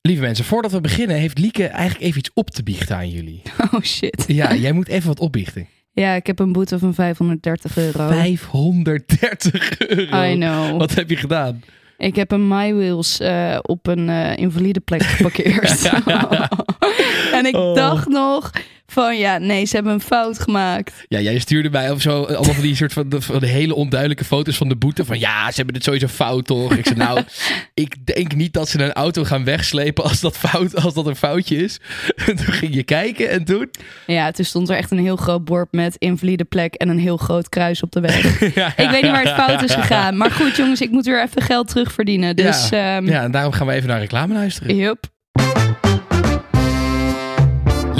Lieve mensen, voordat we beginnen heeft Lieke eigenlijk even iets op te biechten aan jullie. Oh shit. Ja, jij moet even wat opbiechten. Ja, ik heb een boete van 530 euro. 530 euro. I know. Wat heb je gedaan? Ik heb een MyWheels eh op een eh, invalide plek geparkeerd. en ik Oh. dacht nog van ja, nee, ze hebben een fout gemaakt. Ja, jij stuurde mij of zo eh, allemaal van die soort van, van de hele onduidelijke foto's van de boete. Van ja, ze hebben het sowieso fout toch? Ik zei nou, ik denk niet dat ze een auto gaan wegslepen als dat, fout, als dat een foutje is. En toen ging je kijken en toen... Ja, toen stond er echt een heel groot bord met invalide plek en een heel groot kruis op de weg. ik weet niet waar het fout is gegaan. Maar goed jongens, ik moet weer even geld terugverdienen. Dus ja. Ja, en daarom gaan we even naar reclame luisteren. Yup.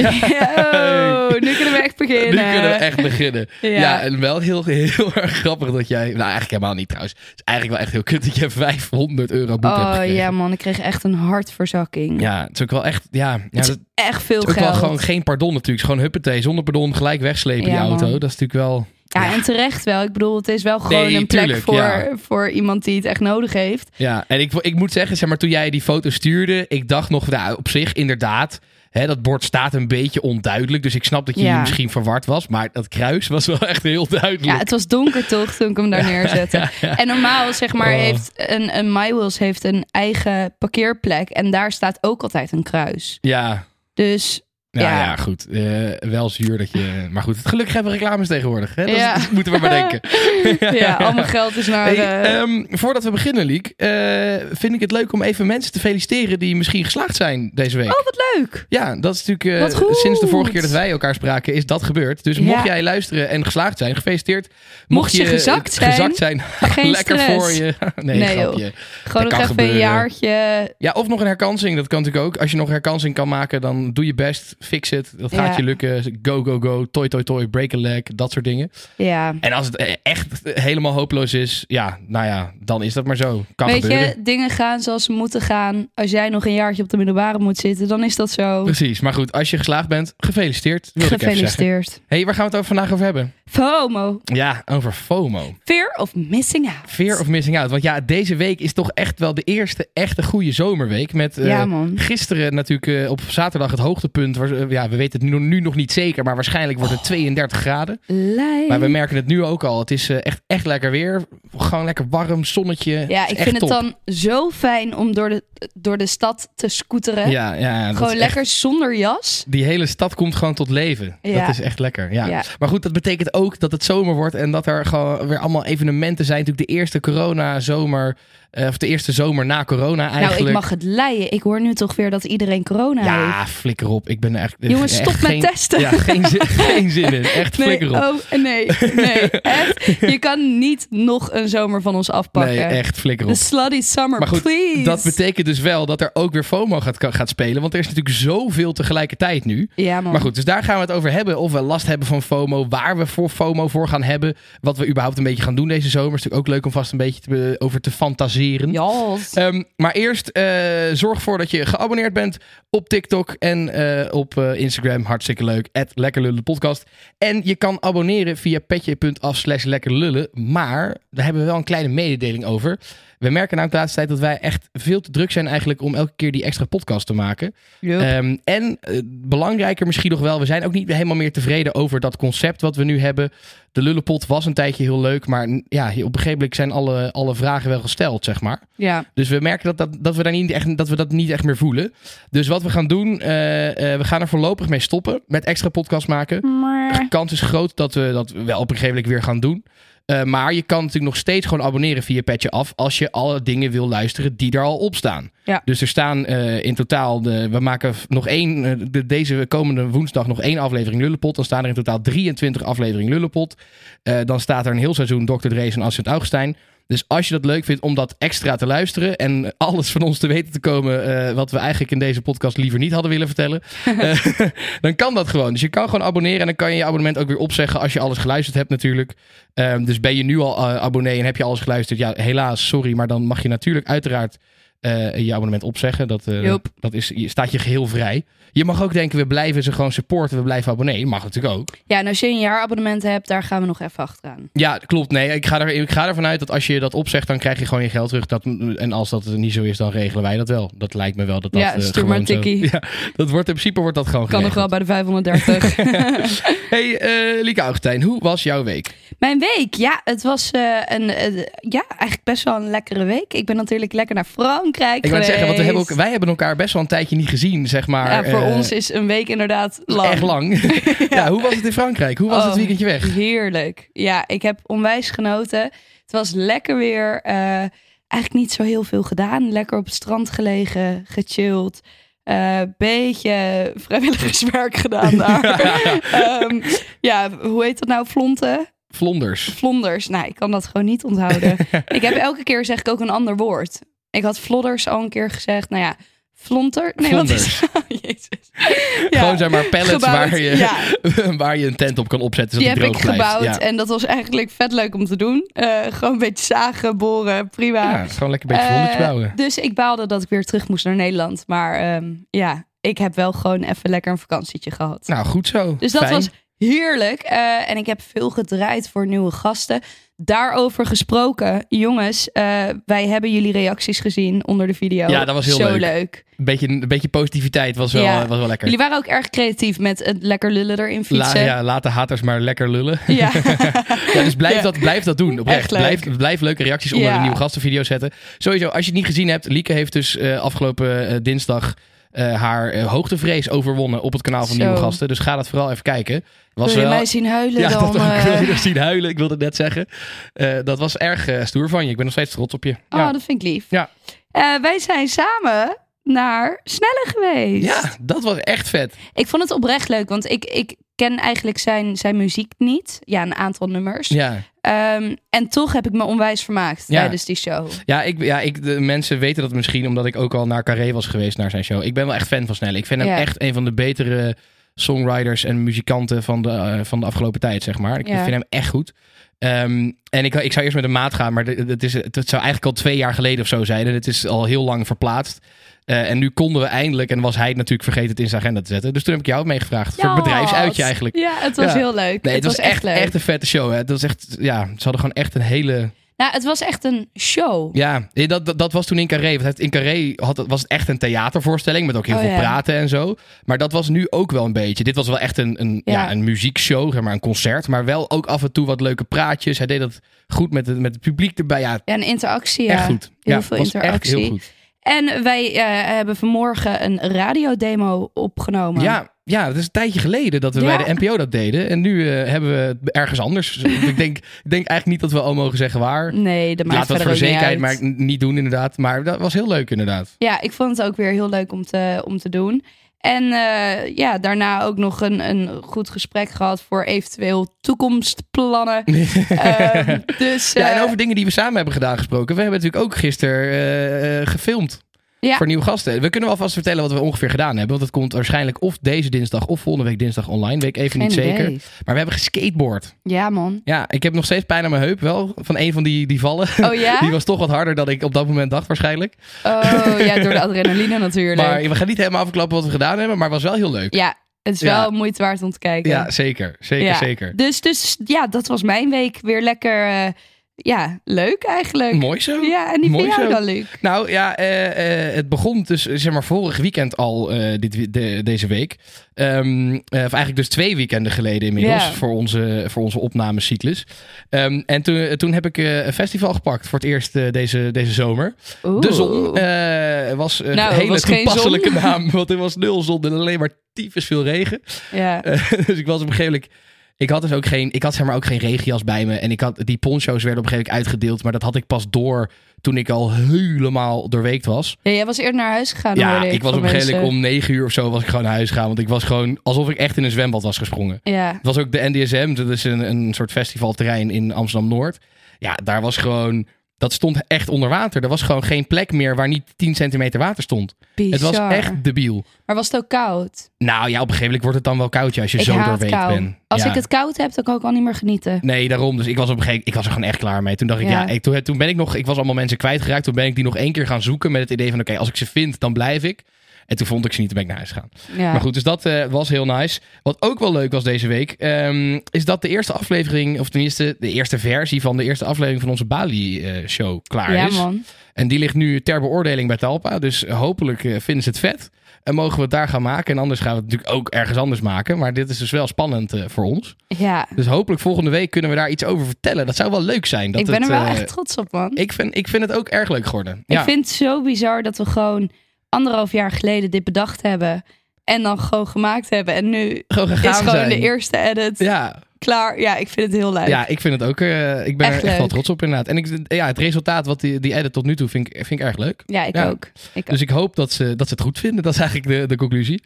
Yo, nu kunnen we echt beginnen. Nu kunnen we echt beginnen. Ja. Ja. en wel heel, heel erg grappig dat jij... Nou, eigenlijk helemaal niet trouwens. Het is eigenlijk wel echt heel kut dat je 500 euro boete hebt Oh gekregen. ja man, ik kreeg echt een hartverzakking. Ja, het is ook wel echt... Ja, ja, Het dat- is echt veel Het is ook geld. wel gewoon geen pardon natuurlijk. Het is gewoon huppatee, zonder pardon, gelijk wegslepen die Ja, auto. man. Dat is natuurlijk wel... ja, en terecht wel. Ik bedoel, het is wel gewoon Nee, een plek tuurlijk, voor, ja. voor iemand die het echt nodig heeft. Ja, en ik, ik moet zeggen, zeg maar, toen jij die foto stuurde, ik dacht nog, nou, op zich inderdaad, hè, dat bord staat een beetje onduidelijk. Dus ik snap dat je Ja. misschien verward was, maar dat kruis was wel echt heel Ja, duidelijk. het was donker toch toen ik hem daar neerzette. En normaal, zeg maar, Oh. heeft een, een MyWheels heeft een eigen parkeerplek. En daar staat ook altijd een kruis. Ja, Dus ja, ja. Ja. goed. Eh, wel zuur dat je... Maar goed, het gelukkig hebben we reclames tegenwoordig. Hè? Dat, is- Ja. dat moeten we maar denken. ja, al mijn geld is naar... Hey, eh, ehm, voordat we beginnen, Liek, eh, vind ik het leuk om even mensen te feliciteren die misschien geslaagd zijn deze week. Oh, wat leuk! Ja, dat is natuurlijk Wat eh, goed. sinds de vorige keer dat wij elkaar spraken, is dat gebeurd. Dus Ja. mocht jij luisteren en geslaagd zijn, gefeliciteerd. Mocht, eh, Mocht je gezakt zijn, gezakt zijn Geen lekker stress. voor je. Nee, Nee, grapje. Gewoon Dat nog kan even gebeuren. een jaartje. Ja, of nog een herkansing, dat kan natuurlijk ook. Als je nog een herkansing kan maken, dan doe je best, fix het. Dat gaat Ja. je lukken. Go, go, go, toi, toi, toi, break a leg, dat soort dingen. Ja. En als het eh, echt helemaal hopeloos is, ja, nou ja, dan is dat maar zo. Kan Weet gebeuren. je, dingen gaan zoals ze moeten gaan. Als jij nog een jaartje op de middelbare moet zitten, dan is dat zo. Precies, maar goed, als je geslaagd bent, gefeliciteerd. wilde ik even zeggen. Oh. Gefeliciteerd. hey, waar gaan we het over vandaag over hebben? FOMO. Ja, over FOMO. Fear of missing out. Fear of missing out. Want ja, deze week is toch echt wel de eerste echte goede zomerweek. Met eh, Ja, man. gisteren natuurlijk eh, op zaterdag het hoogtepunt. Was, eh, ja, we weten het nu, nu nog niet zeker, maar waarschijnlijk wordt Oh. het 32 graden. Lijp. Maar we merken het nu ook al. Het is eh, echt, echt lekker weer. Gewoon lekker warm, zonnetje. Ja, is ik echt vind het top. dan zo fijn om door de, door de stad te scooteren. Ja, ja, dat Gewoon is lekker zonder jas. echt- die hele stad komt gewoon tot leven. Ja. Dat is echt lekker. Ja. Ja. Nou, Maar goed, dat betekent ook dat het zomer wordt en dat er gewoon weer allemaal evenementen zijn. Natuurlijk de eerste corona-zomer, eh, of de eerste zomer na corona eigenlijk. Nou, ik mag het leien. Ik hoor nu toch weer dat iedereen corona heeft. Ja, flikker op. Ik ben er echt. Jongens, echt stop met geen- testen. Ja, geen zin, geen zin in. Echt Nee, flikker op. oh, nee, nee, echt. Je kan niet nog een zomer van ons afpakken. nee, echt flikker op. De slutty summer, Maar goed, please. Dat betekent dus wel dat er ook weer FOMO gaat, gaat spelen. Want er is natuurlijk zoveel tegelijkertijd nu. Ja, man. Maar goed, dus daar gaan we het over hebben. Of we last hebben van FOMO. Waar we voor FOMO voor gaan hebben. Wat we überhaupt een beetje gaan doen deze zomer. Is natuurlijk ook leuk om vast een beetje te- over te fantaseren. Jas. Ehm, maar eerst eh, zorg ervoor dat je geabonneerd bent op TikTok en eh, op eh, Instagram. Hartstikke leuk. @lekkerlullenpodcast. En je kan abonneren via petje.af slash lekkerlullen. Maar daar hebben we wel een kleine mededeling over. We merken namelijk de laatste tijd dat wij echt veel te druk zijn eigenlijk om elke keer die extra podcast te maken. Yup. Ehm, en eh, belangrijker misschien nog wel, we zijn ook niet helemaal meer tevreden over dat concept wat we nu hebben. De lullenpot was een tijdje heel leuk, maar n- ja, op een gegeven moment zijn alle, alle vragen wel gesteld, zeg maar. ja. Dus we merken dat, dat, dat, we daar niet echt, dat we dat niet echt meer voelen. Dus wat we gaan doen, eh, eh, we gaan er voorlopig mee stoppen met extra podcast maken. De Maar... kans is groot dat we dat wel op een gegeven moment weer gaan doen. Eh, maar je kan natuurlijk nog steeds gewoon abonneren via Petje Af als je alle dingen wil luisteren die er al op staan. Ja. Dus er staan eh, in totaal, de, we maken v- nog één, eh, de, deze komende woensdag nog één aflevering Lullepot. Dan staan er in totaal 23 afleveringen Lullepot. Eh, dan staat er een heel seizoen Dr. Drees en Assent Augustijn. Dus als je dat leuk vindt om dat extra te luisteren en alles van ons te weten te komen eh, wat we eigenlijk in deze podcast liever niet hadden willen vertellen, eh, dan kan dat gewoon. Dus je kan gewoon abonneren en dan kan je je abonnement ook weer opzeggen als je alles geluisterd hebt natuurlijk. Ehm, dus ben je nu al eh, abonnee en heb je alles geluisterd? Ja, helaas, sorry, maar dan mag je natuurlijk uiteraard eh, je abonnement opzeggen. Dat, eh, Joep. dat is, je staat je geheel vrij. Je mag ook denken, we blijven ze gewoon supporten, we blijven abonnee. Mag natuurlijk ook. Ja, en als je een jaarabonnement hebt, daar gaan we nog even achteraan. Ja, klopt. Nee, ik ga, er, ik ga ervan uit dat als je dat opzegt, dan krijg je gewoon je geld terug. Dat, en als dat niet zo is, dan regelen wij dat wel. Dat lijkt me wel. Dat dat, Ja, eh, stuur maar een gewoon zo- tikkie. Ja, dat wordt in principe wordt dat gewoon Kan nog wel bij de 530. Hey, eh Lieke Augustijn, hoe was jouw week? Mijn week, ja, het was eh, een, eh, ja, eigenlijk best wel een lekkere week. Ik ben natuurlijk lekker naar Frankrijk Ik wil geweest. zeggen, want we hebben ook, wij hebben elkaar best wel een tijdje niet gezien, zeg maar. ja, voor Eh, ons is een week inderdaad lang. Echt lang. ja. hoe was het in Frankrijk? Hoe was Oh. het weekendje weg? Heerlijk. Ja, ik heb onwijs genoten. Het was lekker weer. eh, eigenlijk niet zo heel veel gedaan. Lekker op het strand gelegen, gechilled. Eh beetje vrijwilligerswerk gedaan daar. Ehm, ja, hoe heet dat nou? Flonten? Vlonders. Vlonders. Nou, ik kan dat gewoon niet onthouden. ik heb elke keer zeg ik ook een ander woord. Ik had vlodders al een keer gezegd. Nou ja, flonter. Nee, wat is Jezus. Ja, Gewoon zeg maar pallets gebouwd. waar je, Ja, waar je een tent op kan opzetten. die Zodat heb die ik droog blijft. gebouwd Ja. en dat was eigenlijk vet leuk om te doen. Eh, gewoon een beetje zagen, boren, prima. Ja, gewoon lekker een beetje vlonders Eh, bouwen. dus ik baalde dat ik weer terug moest naar Nederland. Maar ehm, ja, ik heb wel gewoon even lekker een vakantietje gehad. Nou, goed zo. Dus dat Fijn. was heerlijk. Eh, en ik heb veel gedraaid voor nieuwe gasten. Daarover gesproken, jongens, eh, wij hebben jullie reacties gezien onder de video. Ja, dat was heel Zo leuk. leuk. Een beetje, een beetje positiviteit was wel, Ja. was wel lekker. Jullie waren ook erg creatief met het lekker lullen erin La, fietsen. ja, laat de haters maar lekker lullen. ja. Ja, dus blijf, Ja. dat, blijf dat doen. Oprecht. Echt leuk. Blijf, blijf leuke reacties onder Ja. de nieuwe gastenvideo zetten. Sowieso, als je het niet gezien hebt, Lieke heeft dus eh, afgelopen eh, dinsdag eh, haar eh, hoogtevrees overwonnen op het kanaal van Zo. Nieuwe Gasten. Dus ga dat vooral even kijken. Was Wil je wel- mij zien huilen ja, dan? dat ook. Ik eh? wilde je nog zien huilen, ik wilde het net zeggen. Eh, dat was erg eh, stoer van je. Ik ben nog steeds trots op je. Oh, ja. dat vind ik lief. Ja. Eh, wij zijn samen naar Snelle geweest. ja, dat was echt vet. Ik vond het oprecht leuk, want ik, ik ken eigenlijk zijn, zijn muziek niet. Ja, een aantal nummers. Ja. Ehm, en toch heb ik me onwijs vermaakt Ja. tijdens die show. Ja, ik, ja ik, de mensen weten dat misschien omdat ik ook al naar Carré was geweest naar zijn show. Ik ben wel echt fan van Snelle. Ik vind hem Ja. echt een van de betere songwriters en muzikanten van de, eh, van de afgelopen tijd, zeg maar. Ik Ja. vind hem echt goed. Ehm, en ik, ik zou eerst met een maat gaan, maar de- het, is, het zou eigenlijk al twee jaar geleden of zo zijn. En het is al heel lang verplaatst. Eh, en nu konden we eindelijk, en was hij het natuurlijk vergeten het in zijn agenda te zetten. Dus toen heb ik jou meegevraagd. Voor Ja, het bedrijfsuitje het- eigenlijk. Ja, het was Ja. heel leuk. Nee, het, was, echt, leuk. echt een vette show. Hè. Het was echt, ja, ze hadden gewoon echt een hele Nou, het was echt een show. ja, nee, dat, dat, dat was toen in Carré. Want het- in Carré had, het- was het echt een theatervoorstelling met ook heel Oh, veel ja. praten en zo. Maar dat was nu ook wel een beetje. Dit was wel echt een, een, ja. Ja. een muziekshow, zeg maar een concert. Maar wel ook af en toe wat leuke praatjes. Hij deed dat goed met het, met het publiek erbij. Ja, Ja, een interactie. echt ja. goed. heel ja, veel was interactie. Echt heel goed. En wij eh, hebben vanmorgen een radiodemo opgenomen. Ja, ja, het is een tijdje geleden dat we Ja. bij de NPO dat deden. En nu eh, hebben we het ergens anders. ik, denk, ik denk eigenlijk niet dat we al mogen zeggen waar. Nee, dat maakt Laat dat verder voor ook niet zekerheid uit. maar niet doen inderdaad. Maar dat was heel leuk inderdaad. Ja, ik vond het ook weer heel leuk om te, om te doen. En eh, ja, daarna ook nog een, een goed gesprek gehad voor eventueel toekomstplannen. Ehm, dus Ja, en eh, over dingen die we samen hebben gedaan gesproken. We hebben natuurlijk ook gisteren eh, eh, gefilmd Ja. voor nieuwe gasten. We kunnen wel vast vertellen wat we ongeveer gedaan hebben. Want het komt waarschijnlijk of deze dinsdag of volgende week dinsdag online. Weet ik even geen niet idee. zeker. Maar we hebben geskateboard. Ja, man. Ja, ik heb nog steeds pijn aan mijn heup wel. Van een van die, die vallen. Oh ja? Die was toch wat harder dan ik op dat moment dacht waarschijnlijk. Oh ja, door de adrenaline natuurlijk. Maar we gaan niet helemaal verklappen wat we gedaan hebben. Maar het was wel heel leuk. Ja, het is Ja. wel moeite waard om te kijken. Ja, zeker. Zeker, Ja. zeker. Dus, dus ja, dat was mijn week. Weer lekker, eh, ja, leuk eigenlijk. Mooi zo. Ja, en die Mooi vind jou zo. dan leuk. Nou ja, eh, eh, het begon dus eh, zeg maar vorig weekend al eh, dit, we- de- deze week. Ehm, eh, of eigenlijk dus twee weekenden geleden inmiddels Ja. voor, onze, voor onze opnamecyclus. Ehm, en toen, eh, toen heb ik eh, een festival gepakt voor het eerst eh, deze, deze zomer. De zon eh, was een Nou, hele was geen toepasselijke naam, want er was nul zon en alleen maar tyfus veel regen. ja. Eh, dus ik was op een gegeven moment. Ik had dus ook geen. Ik had zeg maar ook geen regenjas bij me. En ik had, die poncho's werden op een gegeven moment uitgedeeld. Maar dat had ik pas door toen ik al helemaal doorweekt was. Ja, jij was eerder naar huis gegaan. ja, Ah, hoorde ik was op van een gegeven moment mensen. om negen uur of zo was ik gewoon naar huis gegaan. Want ik was gewoon alsof ik echt in een zwembad was gesprongen. Ja, Het was ook de NDSM. Dat is een, een soort festivalterrein in Amsterdam Noord. Ja, daar was gewoon. dat stond echt onder water. Er was gewoon geen plek meer waar niet 10 centimeter water stond. Bizar. Het was echt debiel. Maar was het ook koud? Nou ja, op een gegeven moment wordt het dan wel koudje als je Ik zo haat doorweekt kou. bent. Als Ja. ik het koud heb, dan kan ik al niet meer genieten. Nee, daarom. Dus ik was op een gegeven moment, ik was er gewoon echt klaar mee. Toen dacht ik, ja, Ja. ik, toen, toen ben ik nog, ik was allemaal mensen kwijtgeraakt. Toen ben ik die nog één keer gaan zoeken met het idee van, oké, als ik ze vind, dan blijf ik. En toen vond ik ze niet, toen ben ik naar huis gegaan. Ja. Maar goed, dus dat eh, was heel nice. Wat ook wel leuk was deze week, ehm, is dat de eerste aflevering, of tenminste de eerste versie van de eerste aflevering van onze Bali-show klaar ja, is. man. En die ligt nu ter beoordeling bij Talpa. Dus hopelijk eh, vinden ze het vet. En mogen we het daar gaan maken. En anders gaan we het natuurlijk ook ergens anders maken. Maar dit is dus wel spannend eh, voor ons. Ja. Dus hopelijk volgende week kunnen we daar iets over vertellen. Dat zou wel leuk zijn. Dat ik ben er het, wel eh, echt trots op, man. Ik vind, ik vind het ook erg leuk geworden. Ja. Ik vind het zo bizar dat we gewoon anderhalf jaar geleden dit bedacht hebben. En dan gewoon gemaakt hebben. En nu Gewoon gegaan is gewoon zijn. de eerste edit Ja, klaar. Ja, ik vind het heel leuk. ja, ik vind het ook. eh, ik ben Echt er echt wel leuk. trots op inderdaad. En ik, ja, het resultaat wat die, die edit tot nu toe vind ik, vind ik erg leuk. Ja, ik Ja. ook. Ik Dus ik hoop dat ze, dat ze het goed vinden. Dat is eigenlijk de, de conclusie.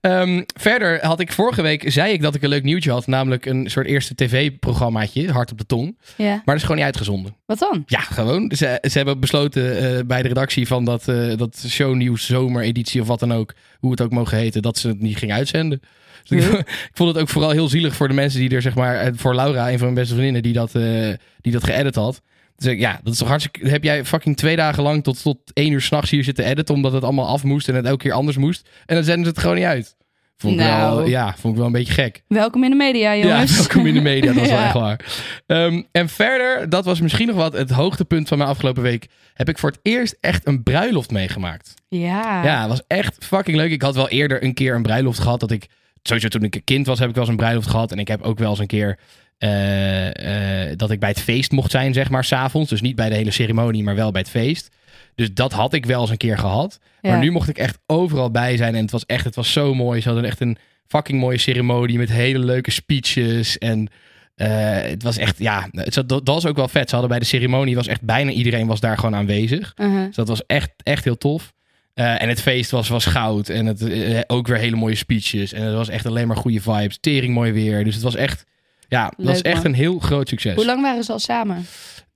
Ehm, verder had ik vorige week, zei ik dat ik een leuk nieuwtje had. Namelijk een soort eerste tv-programmaatje, Hard op de Tong. Maar ook. Ja. dat is gewoon niet uitgezonden. Wat dan? Ja, gewoon. Ze, ze hebben besloten eh, bij de redactie van dat, eh dat shownieuws, zomereditie of wat dan ook, hoe het ook mogen heten, dat ze het niet ging uitzenden. Dus ik, Huh? ik vond het ook vooral heel zielig voor de mensen die er, zeg maar, eh, voor Laura, een van mijn beste vriendinnen, die dat, eh, die dat geëdit had. Dus ik, ja, dat is toch hartstikke. Heb jij fucking twee dagen lang tot, tot één uur s'nachts hier zitten editen, omdat het allemaal af moest en het elke keer anders moest. En dan zenden ze het gewoon niet uit. Vond ik, wel, Nou. ja, vond ik wel een beetje gek. Welkom in de media, Ja, jongens. welkom in de media, dat is wel Ja. echt waar. Ehm, en verder, dat was misschien nog wat het hoogtepunt van mijn afgelopen week. Heb ik voor het eerst echt een bruiloft meegemaakt. Ja. Ja, het was echt fucking leuk. Ik had wel eerder een keer een bruiloft gehad. Dat ik, sowieso toen ik een kind was, heb ik wel eens een bruiloft gehad. En ik heb ook wel eens een keer eh, eh, dat ik bij het feest mocht zijn, zeg maar, s'avonds. Dus niet bij de hele ceremonie, maar wel bij het feest. Dus dat had ik wel eens een keer gehad. Maar Ja. nu mocht ik echt overal bij zijn. En het was echt, het was zo mooi. Ze hadden echt een fucking mooie ceremonie met hele leuke speeches. En eh, het was echt, ja, het, zat- dat, dat was ook wel vet. Ze hadden bij de ceremonie, was echt bijna iedereen was daar gewoon aanwezig. Uh-huh. Dus dat was echt, echt heel tof. Eh, en het feest was, was goud. En het, eh, ook weer hele mooie speeches. En het was echt alleen maar goede vibes. Tering mooi weer. Dus het was echt, ja, het was Leuk, echt man. een heel groot succes. Hoe lang waren ze al samen?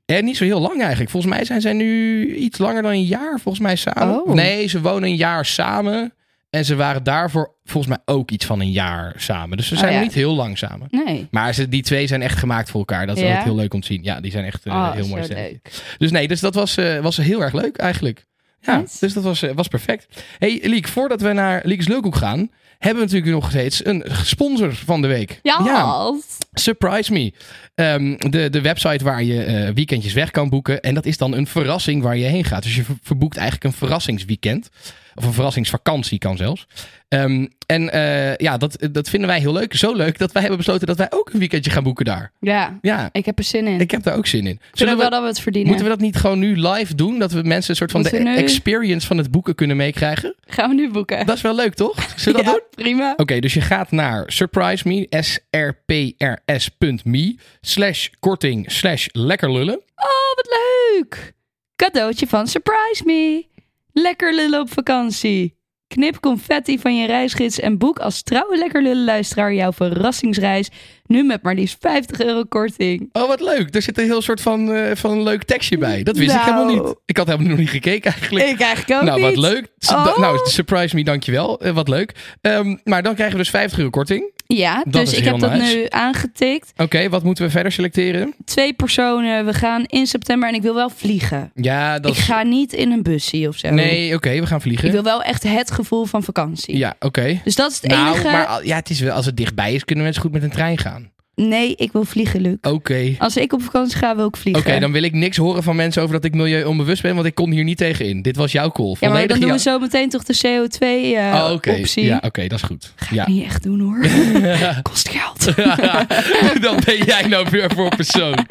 En Eh, niet zo heel lang eigenlijk. Volgens mij zijn zij nu iets langer dan een jaar volgens mij samen. Oh. Nee, ze wonen een jaar samen. En ze waren daarvoor volgens mij ook iets van een jaar samen. Dus ze Oh, zijn ja. niet heel lang samen. Nee. Maar ze, die twee zijn echt gemaakt voor elkaar. Dat is Ja? ook heel leuk om te zien. Ja, die zijn echt eh, oh, heel mooi. zo stelletje. leuk. Dus nee, dus dat was, eh, was heel erg leuk eigenlijk. Ja, Nice. dus dat was, eh, was perfect. hey, Liek, voordat we naar Liek's Leukhoek gaan... hebben we natuurlijk nog steeds een sponsor van de week. Ja. Surprise Me. Ehm, de, de website waar je eh, weekendjes weg kan boeken. En dat is dan een verrassing waar je heen gaat. Dus je ver- verboekt eigenlijk een verrassingsweekend. Of een verrassingsvakantie kan zelfs. Ehm, en eh, ja, dat, dat vinden wij heel leuk. Zo leuk dat wij hebben besloten dat wij ook een weekendje gaan boeken daar. Ja, Ja, ik heb er zin in. ik heb daar ook zin in. ik vind Zullen ook we wel dat we het verdienen. Moeten we dat niet gewoon nu live doen? Dat we mensen een soort van de Moeten we nu? experience van het boeken kunnen meekrijgen? Gaan we nu boeken? Dat is wel leuk, toch? Zullen we dat Ja, doen? prima. Oké, dus je gaat naar surprise me, s-r-p-r-s.me, slash korting, slash lekker lullen. Oh, wat leuk! Cadeautje van Surprise Me. Lekker lullen op vakantie. Knip confetti van je reisgids en boek als trouwe lekker lullen luisteraar jouw verrassingsreis. Nu met maar liefst 50 euro korting. Oh, wat leuk. Er zit een heel soort van, eh, van een leuk tekstje bij. Dat wist ik Nou. helemaal niet. Ik had helemaal nog niet gekeken eigenlijk. Ik eigenlijk ook nou, niet. wat leuk. S- da- Oh. Nou, surprise me, dankjewel. Eh, wat leuk. Ehm, maar dan krijgen we dus 50 euro korting. Ja, Dat dus is ik heel heb dat nice. nu aangetikt. Oké, wat moeten we verder selecteren? Twee personen, we gaan in september en ik wil wel vliegen. Ja, dat ik is... ga niet in een busje of zo. Nee, oké, we gaan vliegen. Ik wil wel echt het gevoel van vakantie. Ja, oké. Dus dat is het Nou, enige. maar al- ja, het is wel, als het dichtbij is, kunnen mensen goed met een trein gaan. Nee, ik wil vliegen, Luc. Oké. Als ik op vakantie ga, wil ik Oké, vliegen. dan wil ik niks horen van mensen over dat ik milieu onbewust ben, want ik kon hier niet tegen in. Dit was jouw call. Ja, maar Volledig dan doen we jou- zo meteen toch de CO2-optie. Oh, oké. Ja, oké, dat is goed. Ja. Niet echt doen hoor. Kost geld. dan ben jij nou weer voor persoon.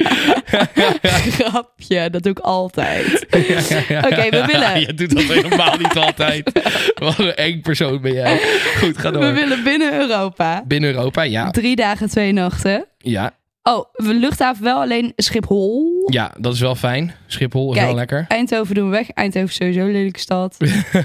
Grapje, dat doe ik altijd. Oké, we willen. Je doet dat helemaal niet altijd. Wat een eng persoon ben jij. Goed, ga We door. willen binnen Europa. Binnen Europa, ja. Drie dagen, twee nachten. Ja, Oh, we luchthaven wel alleen Schiphol. ja, dat is wel fijn. Schiphol is wel Kijk. lekker. Eindhoven doen we weg. Eindhoven sowieso een lelijke stad.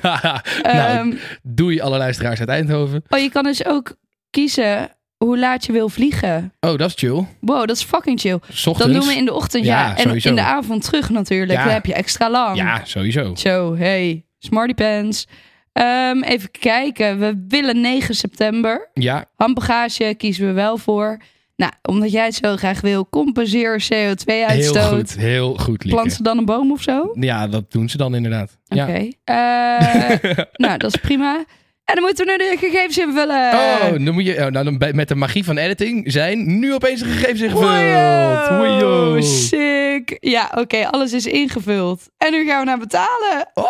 nou, Ehm, doei alle luisteraars uit Eindhoven. oh, je kan dus ook kiezen hoe laat je wil vliegen. Oh, dat is chill. Wow, dat is fucking chill. 's Ochtends. Dat doen we in de ochtend, ja. Ja, en sowieso. in de avond terug natuurlijk. Ja. Dan heb je extra lang. Ja, sowieso. Zo, hey, smarty pants. Ehm, even kijken, we willen 9 september. Ja, Handbagage kiezen we wel voor. Nou, omdat jij het zo graag wil, compenseer CO2-uitstoot. heel goed. Heel goed, Lieke. Planten dan een boom of zo? Ja, dat doen ze dan inderdaad. Oké. Ja. Eh, nou, dat is prima. En dan moeten we nu de gegevens invullen. Oh, dan moet je oh, nou, dan bij- met de magie van editing zijn nu opeens de gegevens ingevuld. Wow, Oh, Woeio. sick. Ja, oké, alles is ingevuld. En nu gaan we naar betalen. Oh.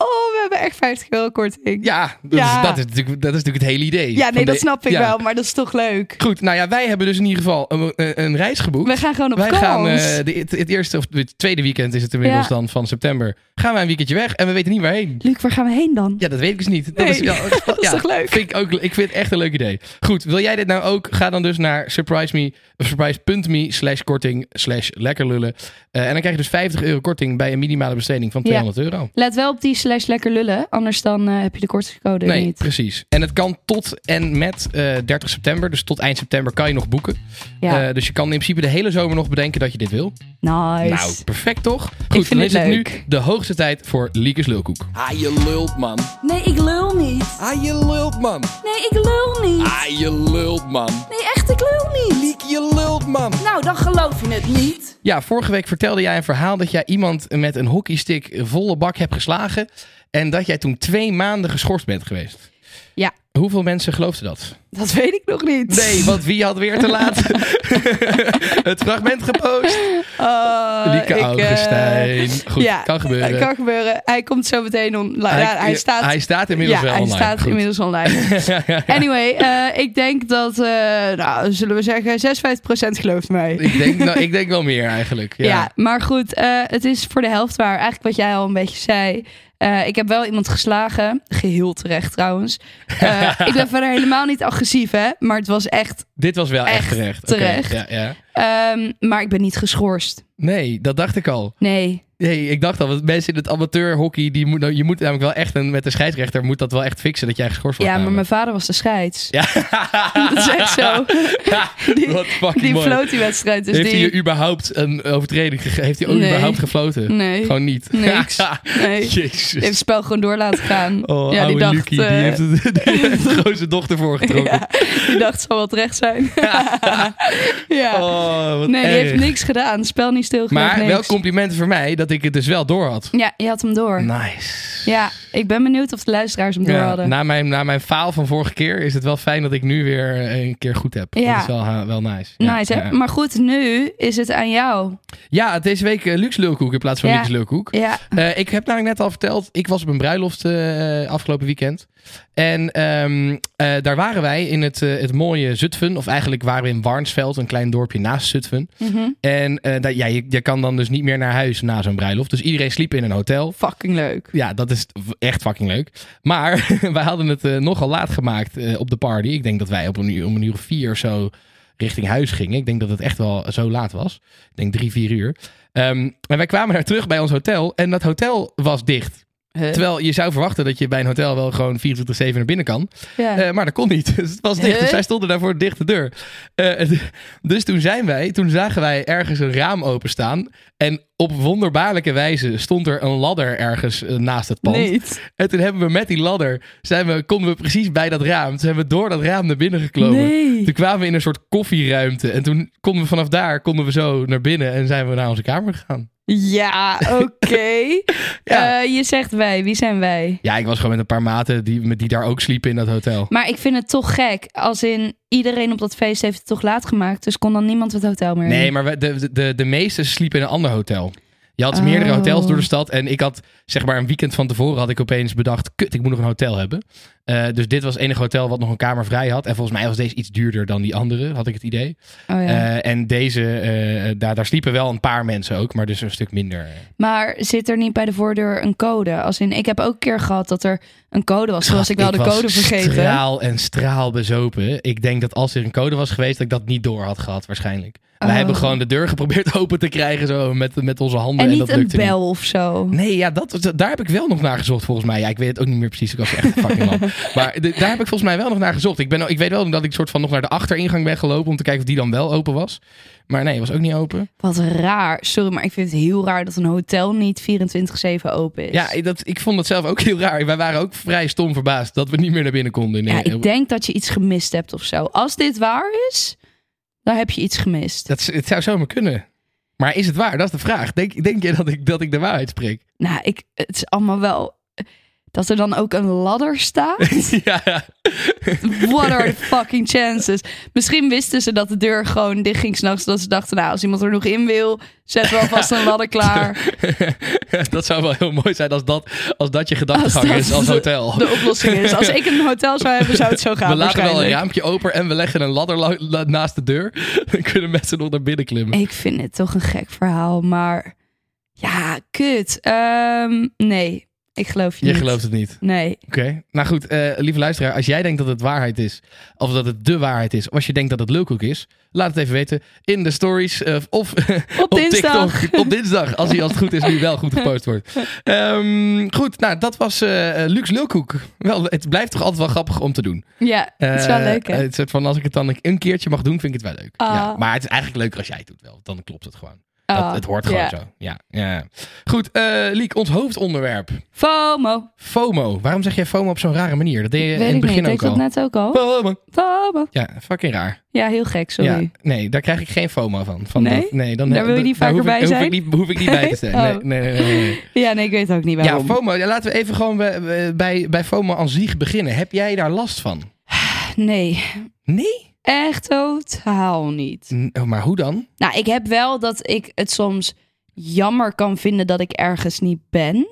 Oh, we hebben echt 50 euro korting. Ja, dat, Ja. Is, dat, is natuurlijk, dat is natuurlijk het hele idee. Ja, nee, Van dat de- snap ik ja. wel, maar dat is toch leuk. Goed, nou ja, wij hebben dus in ieder geval een, een, een reis geboekt. We gaan gewoon op wij kans. gaan eh, de, het, het eerste of het tweede weekend is het inmiddels Ja. dan van september. Gaan wij een weekendje weg en we weten niet waarheen. Luc, waar gaan we heen dan? Ja, dat weet ik dus niet. Dat Nee, is, ja, dat ja, is toch leuk? Vind ik, ook, ik vind het echt een leuk idee. Goed, wil jij dit nou ook? Ga dan dus naar surprise me, of surprise.me slash korting slash lekkerlullen. Eh, en dan krijg je dus 50 euro korting bij een minimale besteding van Ja. 200 euro. Let wel op die slash lekker lullen, anders dan eh, heb je de kortingscode Nee, Eh, niet. precies. En het kan tot en met eh, 30 september. Dus tot eind september kan je nog boeken. Ja, Eh, dus je kan in principe de hele zomer nog bedenken dat je dit wil. nice. Nou, perfect toch? Goed, vind dan het is het nu leuk. de hoogste tijd voor Liekes Lulkoek. Ah, je lult, man. Nee, ik lul niet. Ah, je lult, man. Nee, ik lul niet. Ah, je lult, man. Nee, echt, ik lul niet. Liek, je lult, man. Nou, dan geloof je het niet. Ja, vorige week vertelde jij een verhaal dat jij iemand met een hockeystick volle bak hebt geslagen. En dat jij toen twee maanden geschorst bent geweest. Ja. Hoeveel mensen geloofden dat? dat weet ik nog niet. Nee, want wie had weer te laat het fragment gepost? Oh, ik, Lieke eh, Augustijn. Goed, ja, kan gebeuren. kan gebeuren. Hij komt zo meteen online. eh, Hij, ja, hij staat, hij staat inmiddels ja, wel hij online. staat Goed. inmiddels online. Anyway, eh, ik denk dat, eh, nou, zullen we zeggen, 56% gelooft mij. Ik denk, nou, ik denk wel meer eigenlijk. Ja. Ja, maar goed, eh, het is voor de helft waar. Eigenlijk wat jij al een beetje zei. Eh, ik heb wel iemand geslagen. Geheel terecht trouwens. Eh, ik ben verder helemaal niet agressief, hè. Maar het was echt... Dit was wel echt, Echt terecht. Oké, terecht. ja, ja. ehm, maar ik ben niet geschorst. Nee, dat dacht ik al. Nee. Nee, ik dacht al, want mensen in het amateurhockey, die moet, nou, je moet namelijk wel echt, een, met de scheidsrechter moet dat wel echt fixen dat jij geschorst wordt. Ja, maar mijn namelijk. vader was de scheids. Ja. Dat is echt zo. Die- Wat fucking Die mooi. floot die wedstrijd. Dus heeft die... hij je überhaupt een overtreding gegeven? Heeft hij ook Nee. überhaupt gefloten? Nee. Gewoon niet. Niks. Nee. Die Jezus. heeft het spel gewoon door laten gaan. Oh, ja, die oude dacht, Lucky, die eh, heeft het- die heeft de grote dochter voorgetrokken. ja, die dacht, zal wel terecht zijn. ja. Oh, wat nee, die erg. heeft niks gedaan. Spel niet stilgelegd, Maar niks. wel complimenten voor mij dat ik het dus wel door had. Ja, je had hem door. Nice. Ja, ik ben benieuwd of de luisteraars hem door Ja, hadden. na, mijn, na mijn faal van vorige keer is het wel fijn dat ik nu weer eh, een keer goed heb. Ja. Dat is wel, ha- wel nice. nice, hè? ja. Maar goed, nu is het aan jou. Ja, deze week eh, Luxe Lulkoek in plaats van Ja. Luxe Lulkoek. Ja, Eh, ik heb namelijk net al verteld, ik was op een bruiloft eh, afgelopen weekend. En ehm, eh, daar waren wij in het, eh, het mooie Zutphen. Of eigenlijk waren we in Warnsveld, een klein dorpje naast Zutphen. Mhm. En eh, dat, ja, je, je kan dan dus niet meer naar huis na zo'n bruiloft. Dus iedereen sliep in een hotel. fucking leuk. Ja, dat is echt fucking leuk. Maar wij hadden het eh, nogal laat gemaakt eh, op de party. Ik denk dat wij op een uur, om een uur of vier of zo richting huis gingen. Ik denk dat het echt wel zo laat was. Ik denk drie, vier uur. Ehm en wij kwamen daar terug bij ons hotel. En dat hotel was dicht. Huh? Terwijl je zou verwachten dat je bij een hotel wel gewoon 24-7 naar binnen kan. Ja. Eh, maar dat kon niet. Dus het was dicht. Huh? Dus wij stonden daar voor de dichte deur. Eh, dus toen zijn wij, toen zagen wij ergens een raam openstaan. En op wonderbaarlijke wijze stond er een ladder ergens eh, naast het pand. Niet. En toen hebben we met die ladder, zijn we, konden we precies bij dat raam. Toen zijn we door dat raam naar binnen geklomen. Nee. Toen kwamen we in een soort koffieruimte. En toen konden we vanaf daar konden we zo naar binnen en zijn we naar onze kamer gegaan. Ja, oké. Ja, Eh, je zegt wij. Wie zijn wij? ja ik was gewoon met een paar maten die, met die daar ook sliepen in dat hotel. Maar ik vind het toch gek. Als in, iedereen op dat feest heeft het toch laat gemaakt. Dus kon dan niemand het hotel meer in. Nee, maar we- de, de, de meesten sliepen in een ander hotel. Je had Oh. meerdere hotels door de stad. En ik had, zeg maar, een weekend van tevoren had ik opeens bedacht... Kut, ik moet nog een hotel hebben. Eh, dus dit was het enige hotel wat nog een kamer vrij had. En volgens mij was deze iets duurder dan die andere, had ik het idee. Oh, ja. Eh, en deze, eh, daar, daar sliepen wel een paar mensen ook, maar dus een stuk minder. maar zit er niet bij de voordeur een code? Als in, ik heb ook een keer gehad dat er een code was. Toen was ik wel de Ah, was code vergeten. straal en straal bezopen. Ik denk dat als er een code was geweest, dat ik dat niet door had gehad waarschijnlijk. Wij Oh. hebben gewoon de deur geprobeerd open te krijgen zo met, met onze handen. En En, niet dat een lukte bel of zo. niet. Nee, ja, dat, dat- daar heb ik wel nog naar gezocht volgens mij. Ja, ik weet het ook niet meer precies. Ik was echt fucking lam. Maar de- daar heb ik volgens mij wel nog naar gezocht. Ik, ben, al- ik weet wel dat ik soort van nog naar de achteringang ben gelopen om te kijken of die dan wel open was. Maar nee, was ook niet open. Wat raar. Sorry, maar ik vind het heel raar dat een hotel niet 24-7 open is. Ja, ik- dat, ik vond dat zelf ook heel raar. Wij waren ook vrij stom verbaasd dat we niet meer naar binnen konden. Ja, Nee, eh, ik denk dat je iets gemist hebt of zo. Als dit waar is, dan heb je iets gemist. dat, is- het zou zomaar kunnen. Maar is het waar? Dat is de vraag. Denk, denk je dat ik, dat ik de waarheid spreek? Nou, ik, het is allemaal wel... eh, Dat er dan ook een ladder staat? ja. What are the fucking chances? Misschien wisten ze dat de deur gewoon dicht ging s'nachts. Dat ze dachten, nou, als iemand er nog in wil, zetten we alvast een ladder klaar. dat zou wel heel mooi zijn als dat, als dat je gedachtegang dat is als hotel. De oplossing is, als ik een hotel zou hebben, zou het zo gaan we laten wel een waarschijnlijk. raampje open en we leggen een ladder la- la- naast de deur. Dan kunnen mensen nog naar binnen klimmen. Ik vind het toch een gek verhaal, maar... Ja, kut. Ehm, nee, ik geloof je, Je niet. gelooft het niet. Nee. Oké. Nou goed, eh, lieve luisteraar, als jij denkt dat het waarheid is, of dat het de waarheid is, of als je denkt dat het lulkoek is, laat het even weten in de stories eh, of Op dinsdag. TikTok. Op dinsdag, als hij als het goed is nu wel goed gepost wordt. Ehm, goed, nou dat was eh eh, Lux Lulkoek. Wel, het blijft toch altijd wel grappig om te doen. Ja, het is wel Eh, leuk, hè? eh, het soort van als ik het dan een keertje mag doen, vind ik het wel leuk. Ah. Ja, maar het is eigenlijk leuker als jij het doet wel. Dan klopt het gewoon. Dat- Ah, het hoort gewoon ja. zo. Ja, ja. Goed, eh Liek, ons hoofdonderwerp. FOMO. FOMO. Waarom zeg jij FOMO op zo'n rare manier? Dat deed je Weet in het ik begin niet. Deed ook ik dat al. net ook al? FOMO. FOMO. Ja, fucking raar. Ja, heel gek, sorry. Ja, nee, daar krijg ik geen FOMO van. van Nee? dat- nee dan, Daar wil je niet daar vaker hoef ik- bij hoef zijn? Ik niet, hoef ik niet bij te zijn. Oh. Nee, nee, nee, nee, nee. Ja, nee, ik weet ook niet Ja, waarom. FOMO. Ja, laten we even gewoon bij, bij, bij FOMO aan zich beginnen. Heb jij daar last van? nee, Nee? echt totaal niet. N- oh, maar hoe dan? Nou, ik heb wel dat ik het soms jammer kan vinden dat ik ergens niet ben.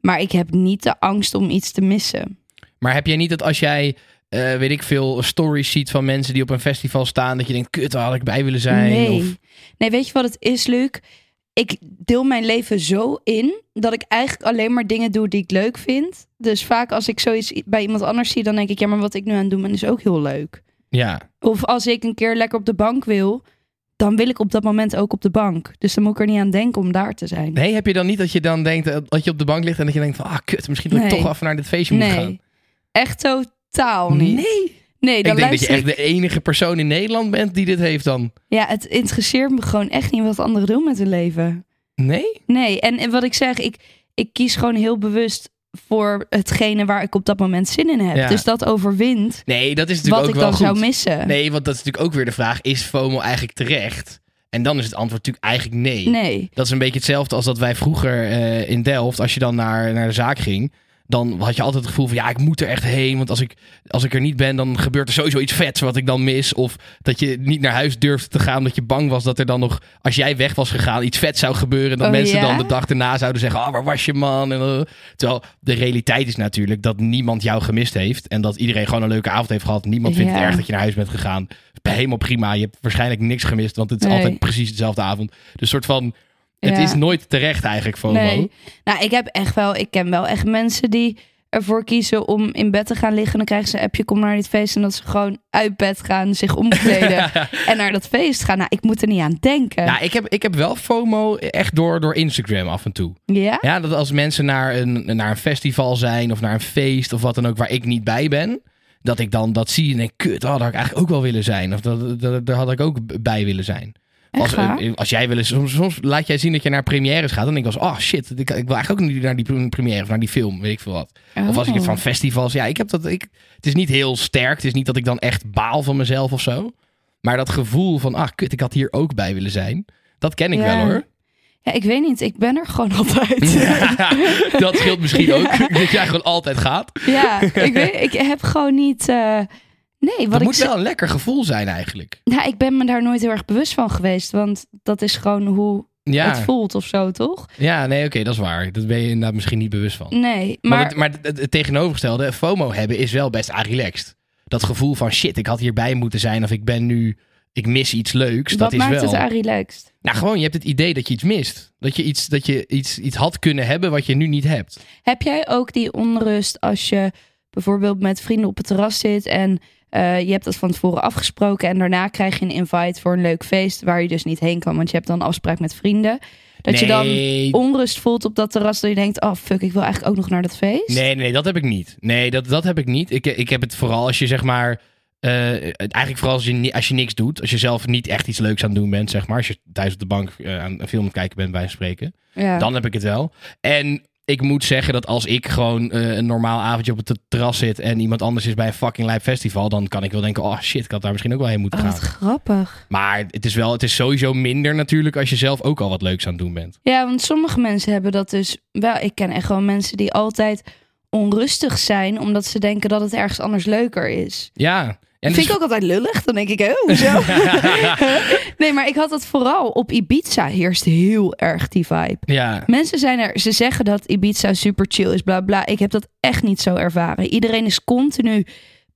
Maar ik heb niet de angst om iets te missen. Maar heb jij niet dat als jij, eh, weet ik veel, stories ziet van mensen die op een festival staan, dat je denkt, kut, daar had ik bij willen zijn? nee. Of, nee, weet je wat het is, Luc? Ik deel mijn leven zo in dat ik eigenlijk alleen maar dingen doe die ik leuk vind. Dus vaak als ik zoiets i- bij iemand anders zie, dan denk ik, ja, maar wat ik nu aan het doen ben is ook heel leuk. ja. Of als ik een keer lekker op de bank wil, dan wil ik op dat moment ook op de bank. Dus dan moet ik er niet aan denken om daar te zijn. Nee, heb je dan niet dat je dan denkt, eh, dat je op de bank ligt en dat je denkt van, ah, kut, misschien dat ik Nee. toch af naar dit feestje moet gaan? Nee, echt totaal niet. Nee. Nee, Ik dan denk dat je luister echt ik. de enige persoon in Nederland bent die dit heeft dan. Ja, het interesseert me gewoon echt niet wat anderen doen met hun leven. Nee? Nee, en, en wat ik zeg, ik, ik kies gewoon heel bewust voor hetgene waar ik op dat moment zin in heb. Ja. Dus dat overwint Nee, dat is natuurlijk wat ik ook wel dan goed. zou missen. Nee, want dat is natuurlijk ook weer de vraag, is FOMO eigenlijk terecht? En dan is het antwoord natuurlijk eigenlijk nee. Nee. Dat is een beetje hetzelfde als dat wij vroeger eh, in Delft, als je dan naar, naar de zaak ging, dan had je altijd het gevoel van ja, ik moet er echt heen, want als ik, als ik er niet ben, dan gebeurt er sowieso iets vets wat ik dan mis. Of dat je niet naar huis durfde te gaan omdat je bang was dat er dan nog, als jij weg was gegaan, iets vets zou gebeuren. En dat Oh, mensen ja? dan de dag erna zouden zeggen, oh, waar was je man? En, eh. terwijl de realiteit is natuurlijk dat niemand jou gemist heeft en dat iedereen gewoon een leuke avond heeft gehad. Niemand vindt het Ja. erg dat je naar huis bent gegaan. Helemaal prima, je hebt waarschijnlijk niks gemist, want het is Nee. altijd precies dezelfde avond. Dus soort van... Het Ja. is nooit terecht eigenlijk, FOMO. Nee. Nou, ik heb echt wel, ik ken wel echt mensen die ervoor kiezen om in bed te gaan liggen. En dan krijgen ze een appje, kom naar dit feest. En dat ze gewoon uit bed gaan, zich omkleden en naar dat feest gaan. Nou, ik moet er niet aan denken. Nou, ik heb, ik heb wel FOMO echt door, door Instagram af en toe. ja? Ja, dat als mensen naar een, naar een festival zijn of naar een feest of wat dan ook waar ik niet bij ben, dat ik dan dat zie en denk, kut, oh, daar had ik eigenlijk ook wel willen zijn. Of dat, dat, daar had ik ook b- bij willen zijn. Echt Als, waar? eh, als jij wel eens, soms, soms laat jij zien dat je naar premières gaat, dan denk ik als, oh shit, ik, ik wil eigenlijk ook niet naar die pre- première of naar die film, weet ik veel wat. Of als ik het Oh. van festivals. Ja, ik heb dat. Ik, het is niet heel sterk. Het is niet dat ik dan echt baal van mezelf of zo. Maar dat gevoel van, ah, kut, ik had hier ook bij willen zijn. Dat ken ik Ja. wel hoor. Ja, ik weet niet. Ik ben er gewoon altijd. dat scheelt misschien ook. Dat jij gewoon altijd gaat. ja, ik, weet, ik heb gewoon niet. eh, nee, wat dat ik. moet ze- wel een lekker gevoel zijn eigenlijk. Nou, ik ben me daar nooit heel erg bewust van geweest. Want dat is gewoon hoe Ja, het voelt of zo, toch? ja nee, oké, dat is waar. Dat ben je inderdaad misschien niet bewust van. Nee, maar. Maar, het, maar het, het tegenovergestelde, FOMO hebben is wel best aan relaxed. Dat gevoel van shit, ik had hierbij moeten zijn of ik ben nu, ik mis iets leuks. wat dat is maakt wel. het aan relaxed? Nou, gewoon, je hebt het idee dat je iets mist. Dat je iets, dat je iets, iets had kunnen hebben wat je nu niet hebt. Heb jij ook die onrust als je bijvoorbeeld met vrienden op het terras zit en eh, je hebt dat van tevoren afgesproken en daarna krijg je een invite voor een leuk feest waar je dus niet heen kan, want je hebt dan een afspraak met vrienden. Dat je dan nee. onrust voelt op dat terras. Dat je denkt, oh fuck, ik wil eigenlijk ook nog naar dat feest. Nee, nee, dat heb ik niet. Nee, dat, dat heb ik niet. Ik, ik heb het vooral als je zeg maar. eh, eigenlijk vooral als je, ni- als je niks doet. Als je zelf niet echt iets leuks aan het doen bent, zeg maar. Als je thuis op de bank eh, aan een film aan het kijken bent, bij wijze van spreken. Ja. Dan heb ik het wel. En ik moet zeggen dat als ik gewoon eh, een normaal avondje op het terras zit. en iemand anders is bij een fucking live festival. dan kan ik wel denken: oh shit, ik had daar misschien ook wel heen moeten Oh, wat gaan. grappig. Maar het is wel, het is sowieso minder natuurlijk. als je zelf ook al wat leuks aan het doen bent. Ja, want sommige mensen hebben dat dus wel. Ik ken echt wel mensen die altijd onrustig zijn. Omdat ze denken dat het ergens anders leuker is. Ja. En dus het Dat is vind ik ook altijd lullig. Dan denk ik, oh, hoezo? nee, maar ik had dat vooral op Ibiza heerst heel erg die vibe. Ja. Mensen zijn er, ze zeggen dat Ibiza super chill is, bla bla. Ik heb dat echt niet zo ervaren. Iedereen is continu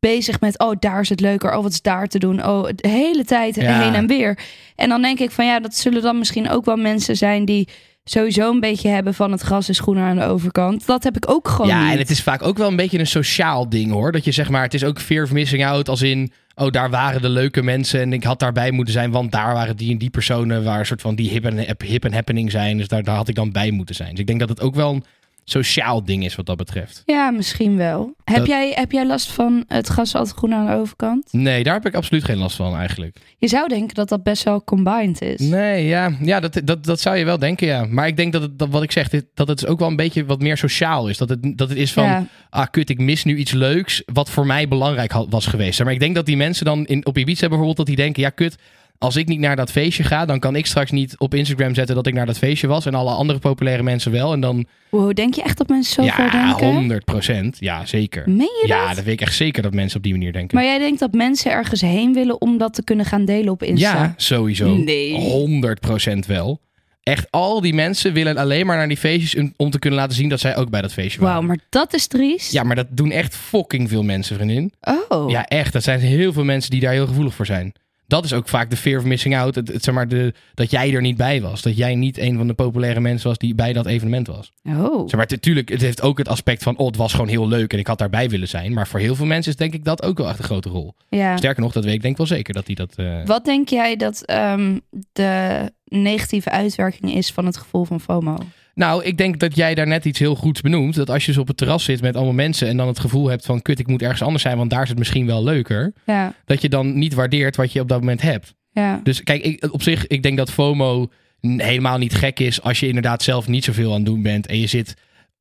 bezig met, oh daar is het leuker, oh wat is daar te doen, oh de hele tijd Ja. heen en weer. En dan denk ik van ja, dat zullen dan misschien ook wel mensen zijn die sowieso een beetje hebben van het gras is groener aan de overkant. Dat heb ik ook gewoon Ja, niet. en het is vaak ook wel een beetje een sociaal ding hoor. Dat je zeg maar, het is ook fear of missing out als in... Oh, daar waren de leuke mensen en ik had daarbij moeten zijn... want daar waren die en die personen waar een soort van die hip en, hip- hip en happening zijn. Dus daar, daar had ik dan bij moeten zijn. Dus ik denk dat het ook wel een sociaal ding is wat dat betreft. Ja, misschien wel. Heb, Dat- jij, heb jij last van het gras is altijd groener aan de overkant? Nee, daar heb ik absoluut geen last van eigenlijk. Je zou denken dat dat best wel combined is. Nee, ja, ja dat, dat, dat zou je wel denken, ja. Maar ik denk dat, het, dat wat ik zeg, dit, dat het dus ook wel een beetje wat meer sociaal is. Dat het, dat het is van... Ja. ah kut, ik mis nu iets leuks wat voor mij belangrijk had- was geweest. Maar ik denk dat die mensen dan in, op Ibiza bijvoorbeeld, dat die denken, ja kut, als ik niet naar dat feestje ga, dan kan ik straks niet op Instagram zetten dat ik naar dat feestje was en alle andere populaire mensen wel. En dan, Wow, denk je echt dat mensen zo ver ja, denken? 100 procent. Ja, zeker. Meen je ja, dat? dat weet ik echt zeker dat mensen op die manier denken. Maar jij denkt dat mensen ergens heen willen om dat te kunnen gaan delen op Insta? ja, sowieso. Nee. 100 procent wel. Echt, al die mensen willen alleen maar naar die feestjes om- om te kunnen laten zien dat zij ook bij dat feestje waren. Wauw, maar dat is triest. Ja, maar dat doen echt fucking veel mensen, vriendin. Oh. Ja, echt. Dat zijn heel veel mensen die daar heel gevoelig voor zijn. Dat is ook vaak de fear of missing out. Het, het, zeg maar de, dat jij er niet bij was. Dat jij niet een van de populaire mensen was die bij dat evenement was. Oh. Zeg maar natuurlijk, het heeft ook het aspect van... oh, het was gewoon heel leuk en ik had daarbij willen zijn. Maar voor heel veel mensen is denk ik dat ook wel echt een grote rol. Ja. Sterker nog, dat weet ik denk wel zeker dat die dat... eh, Wat denk jij dat ehm, de negatieve uitwerking is van het gevoel van FOMO? Nou, ik denk dat jij daar net iets heel goeds benoemt. Dat als je dus op het terras zit met allemaal mensen... en dan het gevoel hebt van... kut, ik moet ergens anders zijn, want daar is het misschien wel leuker. Ja, Dat je dan niet waardeert wat je op dat moment hebt. ja. Dus kijk, ik, op zich, ik denk dat FOMO n- helemaal niet gek is als je inderdaad zelf niet zoveel aan het doen bent. En je zit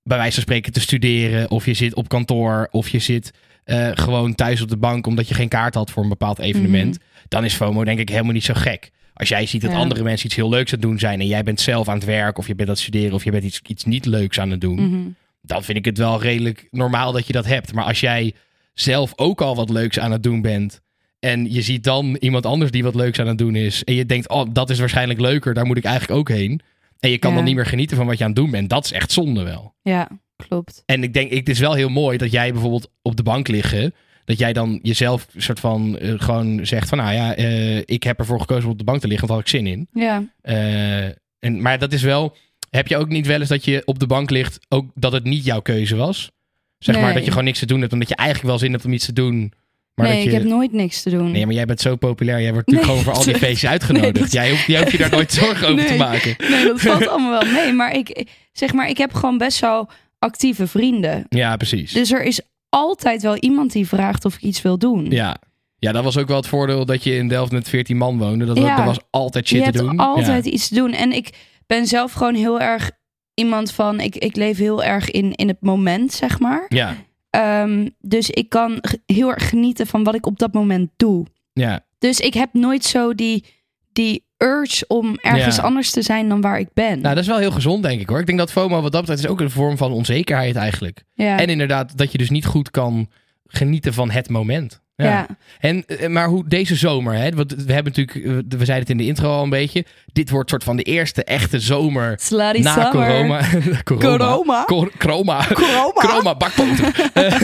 bij wijze van spreken te studeren, of je zit op kantoor, of je zit eh, gewoon thuis op de bank omdat je geen kaart had voor een bepaald evenement. Dan is FOMO denk ik helemaal niet zo gek. Als jij ziet dat Mhm. Ja. andere mensen iets heel leuks aan het doen zijn en jij bent zelf aan het werk, of je bent aan het studeren, of je bent iets, iets niet leuks aan het doen Mhm. dan vind ik het wel redelijk normaal dat je dat hebt. Maar als jij zelf ook al wat leuks aan het doen bent. En je ziet dan iemand anders die wat leuks aan het doen is. En je denkt, oh, dat is waarschijnlijk leuker. Daar moet ik eigenlijk ook heen. En je kan Ja. dan niet meer genieten van wat je aan het doen bent. Dat is echt zonde wel. Ja, klopt. En ik denk, ik- het is wel heel mooi dat jij bijvoorbeeld op de bank liggen. Dat jij dan jezelf soort van eh, gewoon zegt van, nou ja, eh, ik heb ervoor gekozen om op de bank te liggen. Want daar had ik zin in. Ja. Eh, en, maar dat is wel. Heb je ook niet wel eens dat je op de bank ligt, ook dat het niet jouw keuze was? Zeg maar Nee. dat je gewoon niks te doen hebt, omdat je eigenlijk wel zin hebt om iets te doen. Maar nee, dat je. ik heb nooit niks te doen. Nee, maar jij bent zo populair. Jij wordt Nee, natuurlijk gewoon voor al die dat- feestjes uitgenodigd. Nee, dat- jij, hoeft, jij hoeft je daar nooit zorgen over te Nee. maken. Nee, dat valt allemaal wel mee. Maar ik, zeg maar, ik heb gewoon best wel actieve vrienden. Ja, precies. Dus er is altijd wel iemand die vraagt of ik iets wil doen. Ja. ja, dat was ook wel het voordeel dat je in Delft met 14 man woonde. Dat, Ja. dat was altijd shit je te doen. hebt altijd iets te doen. En ik ben zelf gewoon heel erg iemand van... Ik, ik leef heel erg in, in het moment, zeg maar. Ja. ja, Ehm, dus ik kan g- heel erg genieten van wat ik op dat moment doe. ja. Dus ik heb nooit zo die, die urge om ergens Ja. anders te zijn dan waar ik ben. Nou, dat is wel heel gezond, denk ik hoor. Ik denk dat FOMO wat dat betreft is ook een vorm van onzekerheid eigenlijk. ja. En inderdaad, dat je dus niet goed kan genieten van het moment. ja. En, eh, maar hoe deze zomer, hè, want we hebben natuurlijk, eh, we zeiden het in de intro al een beetje. Dit wordt soort van de eerste echte zomer Slutty na summer. corona. corona. Corona? Cor- Chroma. Corona? Chroma, bakboter. Eh,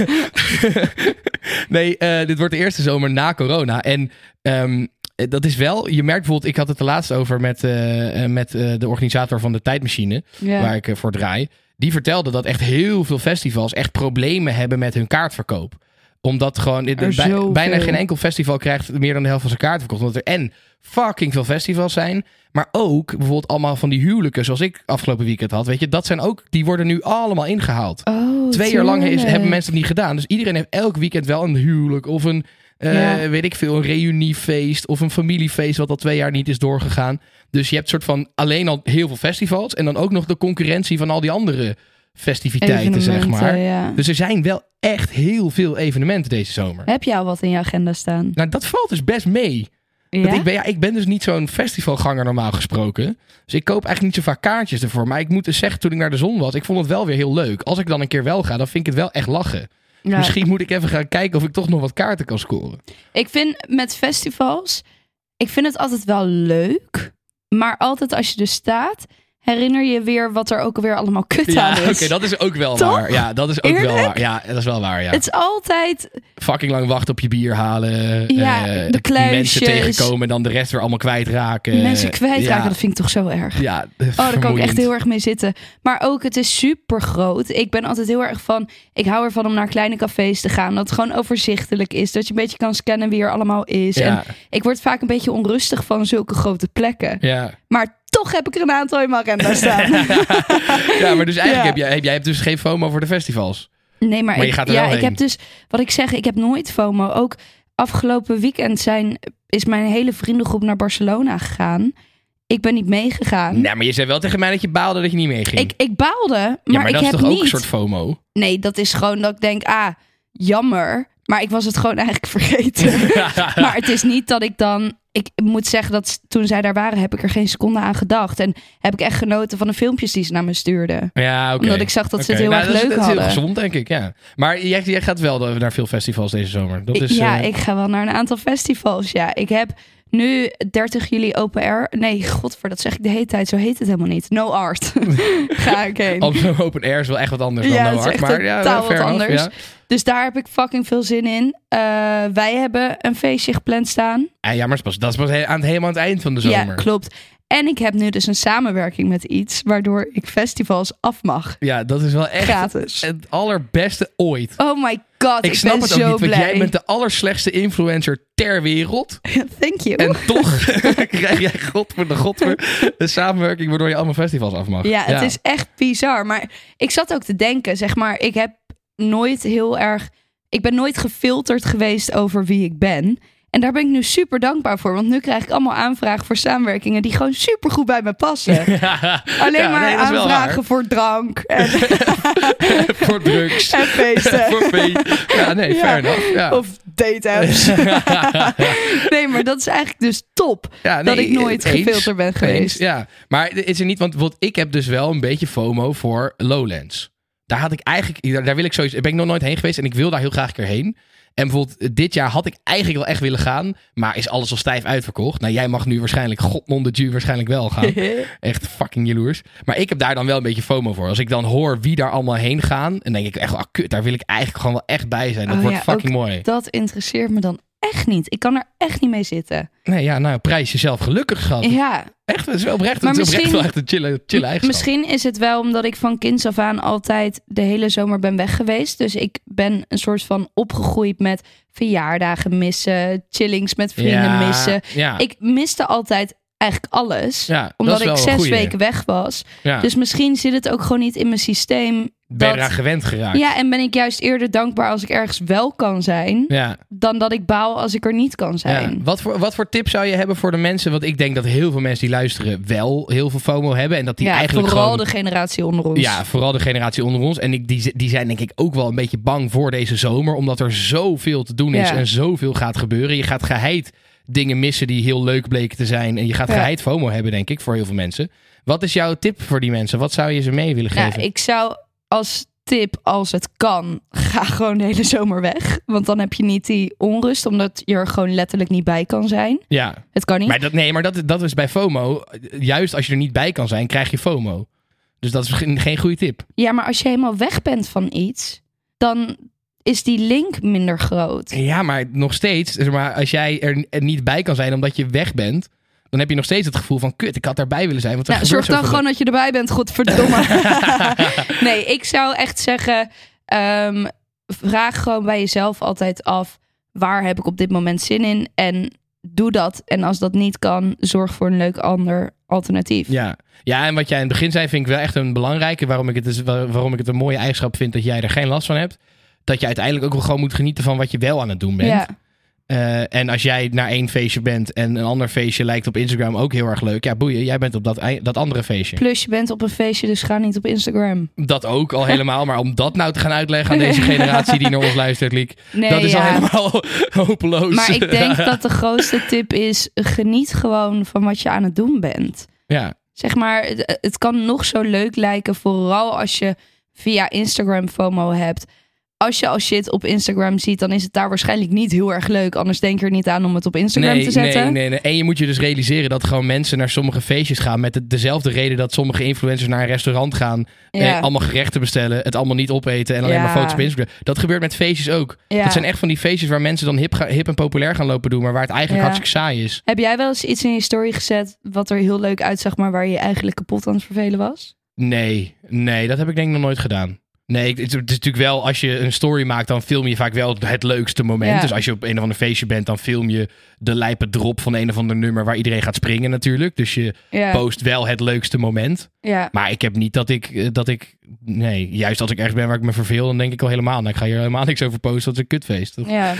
nee, eh, dit wordt de eerste zomer na corona. En ehm, eh, dat is wel, je merkt bijvoorbeeld, ik had het de laatste over met, eh, eh, met eh, de organisator van de tijdmachine Ja. waar ik eh, voor draai. Die vertelde dat echt heel veel festivals echt problemen hebben met hun kaartverkoop. Omdat gewoon in de- Er bij- zoveel. bijna geen enkel festival krijgt meer dan de helft van zijn kaarten verkocht. Omdat er en fucking veel festivals zijn. Maar ook bijvoorbeeld allemaal van die huwelijken zoals ik afgelopen weekend had. Weet je, dat zijn ook, die worden nu allemaal ingehaald. Oh, Twee jaar lang is, tuurlijk. hebben mensen het niet gedaan. Dus iedereen heeft elk weekend wel een huwelijk of een, eh, weet ik veel, een reuniefeest of een familiefeest wat al twee jaar niet is doorgegaan. Dus je hebt soort van alleen al heel veel festivals en dan ook nog de concurrentie van al die andere festiviteiten, zeg Evenementen, maar. ja. Dus er zijn wel echt heel veel evenementen deze zomer. Heb je al wat in je agenda staan? Nou, dat valt dus best mee. Ja? Want ik ben, ja, ik ben dus niet zo'n festivalganger normaal gesproken. Dus ik koop eigenlijk niet zo vaak kaartjes ervoor. Maar ik moet dus zeggen, toen ik naar de zon was, ik vond het wel weer heel leuk. Als ik dan een keer wel ga, dan vind ik het wel echt lachen. Ja. Misschien moet ik even gaan kijken of ik toch nog wat kaarten kan scoren. Ik vind met festivals, ik vind het altijd wel leuk. Maar altijd als je er staat, herinner je weer wat er ook weer allemaal kut aan oké, is. dat is ook wel Toch? waar. Ja, dat is ook wel Eerlijk? waar. Ja, dat is wel waar, ja. Het is altijd, Fucking lang wachten op je bier halen. Ja, eh, de Mensen kluisjes. tegenkomen en dan de rest weer allemaal kwijtraken. mensen kwijtraken, Ja, dat vind ik toch zo erg. ja, Oh, daar kan ik vermoeiend. echt heel erg mee zitten. Maar ook, het is super groot. Ik ben altijd heel erg van. Ik hou ervan om naar kleine cafés te gaan. Dat het gewoon overzichtelijk is. Dat je een beetje kan scannen wie er allemaal is. Ja. En ik word vaak een beetje onrustig van zulke grote plekken. Ja. Maar toch heb ik er een aantal in mijn agenda staan. ja, maar dus eigenlijk Ja. heb jij, heb, jij hebt dus geen FOMO voor de festivals. Nee, maar, Maar je ik, gaat er ja, wel ik heen. heb dus wat ik zeg, ik heb nooit FOMO. Ook afgelopen weekend zijn, is mijn hele vriendengroep naar Barcelona gegaan. Ik ben niet meegegaan. Nee, maar je zei wel tegen mij dat je baalde dat je niet meeging. Ik, ik baalde, maar, ja, maar ik dat is heb toch niet. ook een soort FOMO? Nee, dat is gewoon dat ik denk, ah, jammer. Maar ik was het gewoon eigenlijk vergeten. maar het is niet dat ik dan. Ik moet zeggen dat toen zij daar waren, heb ik er geen seconde aan gedacht. En heb ik echt genoten van de filmpjes die ze naar me stuurden. ja, oké. Omdat ik zag dat ze het Oké, heel nou, erg dat is- leuk dat is hadden. heel gezond, denk ik, ja. Maar jij, jij gaat wel naar veel festivals deze zomer. Dat is, ja, eh, ik ga wel naar een aantal festivals. Ja, ik heb nu 30 juli open air. Nee, godver, dat zeg ik de hele tijd. Zo heet het helemaal niet. No art. ga ik heen. Amsterdam Open Air is wel echt wat anders Ja, dan het No is Art, echt maar ja, totaal fair wat enough, anders. Ja. Dus daar heb ik fucking veel zin in. Eh, wij hebben een feestje gepland staan. Ah, ja, maar dat is pas, dat is pas he- aan het, helemaal aan het eind van de zomer. Ja, klopt. En ik heb nu dus een samenwerking met iets waardoor ik festivals af mag. Ja, dat is wel echt Gratis. het allerbeste ooit. Oh my god, ik, ik snap ben het ook zo niet, want blij. jij bent de allerslechtste influencer ter wereld. Thank you. En toch krijg jij godver de godver de samenwerking waardoor je allemaal festivals af mag. Ja, het is echt bizar. Maar ik zat ook te denken, zeg maar, ik heb nooit heel erg. Ik ben nooit gefilterd geweest over wie ik ben. En daar ben ik nu super dankbaar voor. Want nu krijg ik allemaal aanvragen voor samenwerkingen die gewoon super goed bij me passen. Alleen Ja, maar nee, dat is wel aanvragen voor drank en, waar. voor drugs. en feesten. voor pay. Ja, nee, eh, Ja. fair enough. Ja. Of date apps. nee, maar dat is eigenlijk dus top. Ja, dat nee, ik nooit eens. gefilterd ben Eens, geweest. Ja, maar is er niet, want wat ik heb dus wel een beetje FOMO voor Lowlands. Daar had ik eigenlijk, daar, daar wil ik sowieso, daar ben ik nog nooit heen geweest en ik wil daar heel graag een keer heen. En bijvoorbeeld eh, dit jaar had ik eigenlijk wel echt willen gaan, maar is alles al stijf uitverkocht. Nou, jij mag nu waarschijnlijk, godnon de Jew, waarschijnlijk wel gaan. Echt fucking jaloers. Maar ik heb daar dan wel een beetje FOMO voor. Als ik dan hoor wie daar allemaal heen gaan, dan denk ik echt, ah kut, daar wil ik eigenlijk gewoon wel echt bij zijn. Dat Oh wordt ja, fucking ook mooi. Dat interesseert me dan echt niet. Ik kan er echt niet mee zitten. Nee, ja, nou, prijs jezelf gelukkig, schat. Ja, Echt, het is wel oprecht. Maar het is oprecht misschien- wel echt een chille, chille eigenschap. misschien is het wel omdat ik van kinds af aan altijd de hele zomer ben weg geweest. Dus ik ben een soort van opgegroeid met verjaardagen missen, chillings met vrienden Ja, missen. Ja, Ik miste altijd eigenlijk alles. Ja, dat omdat is wel ik een zes goeie. weken weg was. ja. Dus misschien zit het ook gewoon niet in mijn systeem. ben je dat- eraan gewend geraakt. Ja, en ben ik juist eerder dankbaar als ik ergens wel kan zijn. Ja, dan dat ik baal als ik er niet kan ja. zijn. Wat, voor, wat voor tip zou je hebben voor de mensen? Want ik denk dat heel veel mensen die luisteren wel heel veel FOMO hebben. En dat die Ja, eigenlijk vooral gewoon... de generatie onder ons. Ja, vooral de generatie onder ons. En ik, die, die zijn denk ik ook wel een beetje bang voor deze zomer. Omdat er zoveel te doen is Ja. en zoveel gaat gebeuren. Je gaat geheid dingen missen die heel leuk bleken te zijn. En je gaat Ja. geheid FOMO hebben, denk ik, voor heel veel mensen. Wat is jouw tip voor die mensen? Wat zou je ze mee willen Nou, geven? ik zou als tip, als het kan, ga gewoon de hele zomer weg. Want dan heb je niet die onrust, omdat je er gewoon letterlijk niet bij kan zijn. Ja, Het kan niet. maar dat, nee, maar dat, dat is bij FOMO. Juist als je er niet bij kan zijn, krijg je FOMO. Dus dat is geen, geen goede tip. Ja, maar als je helemaal weg bent van iets, dan is die link minder groot. Ja, maar nog steeds, zeg maar, als jij er er niet bij kan zijn omdat je weg bent, dan heb je nog steeds het gevoel van kut, ik had daarbij willen zijn. Want er Nou, gebeurt zorg dan zoveel. gewoon dat je erbij bent, godverdomme. nee, ik zou echt zeggen... ehm, vraag gewoon bij jezelf altijd af: waar heb ik op dit moment zin in? En doe dat. En als dat niet kan, zorg voor een leuk ander alternatief. Ja. ja, en wat jij in het begin zei, vind ik wel echt een belangrijke. Waarom ik het, is, waar- waarom ik het een mooie eigenschap vind dat jij er geen last van hebt. Dat je uiteindelijk ook wel gewoon moet genieten van wat je wel aan het doen bent. Ja, Eh, en als jij naar één feestje bent en een ander feestje lijkt op Instagram ook heel erg leuk. Ja, boeien, jij bent op dat, ei- dat andere feestje. plus je bent op een feestje, dus ga niet op Instagram. Dat ook al helemaal, maar om dat nou te gaan uitleggen aan deze Nee. generatie die naar ons luistert, Liek. Nee, dat is al ja. helemaal hopeloos. Maar ik denk dat de grootste tip is: geniet gewoon van wat je aan het doen bent. Ja, Zeg maar, het, het kan nog zo leuk lijken, vooral als je via Instagram FOMO hebt. Als je al shit op Instagram ziet, dan is het daar waarschijnlijk niet heel erg leuk. Anders denk je er niet aan om het op Instagram nee, te zetten. Nee, nee, nee. En je moet je dus realiseren dat gewoon mensen naar sommige feestjes gaan met de- dezelfde reden dat sommige influencers naar een restaurant gaan, Ja. eh, allemaal gerechten bestellen, het allemaal niet opeten en alleen Ja. maar foto's op Instagram. Dat gebeurt met feestjes ook. Ja. Dat zijn echt van die feestjes waar mensen dan hip, ga- hip en populair gaan lopen doen, maar waar het eigenlijk Ja. hartstikke saai is. Heb jij wel eens iets in je story gezet wat er heel leuk uitzag, maar waar je je eigenlijk kapot aan het vervelen was? Nee, nee, dat heb ik denk ik nog nooit gedaan. Nee, ik- het, het is natuurlijk wel, als je een story maakt, dan film je vaak wel het leukste moment. Ja. Dus als je op een of ander feestje bent, dan film je de lijpe drop van een of ander nummer waar iedereen gaat springen natuurlijk. Dus je Ja, post wel het leukste moment. ja. Maar ik heb niet dat ik, eh, dat ik... Nee, juist als ik ergens ben waar ik me verveel, dan denk ik al helemaal... Nou, ik ga hier helemaal niks over posten, dat is een kutfeest. Of- ja.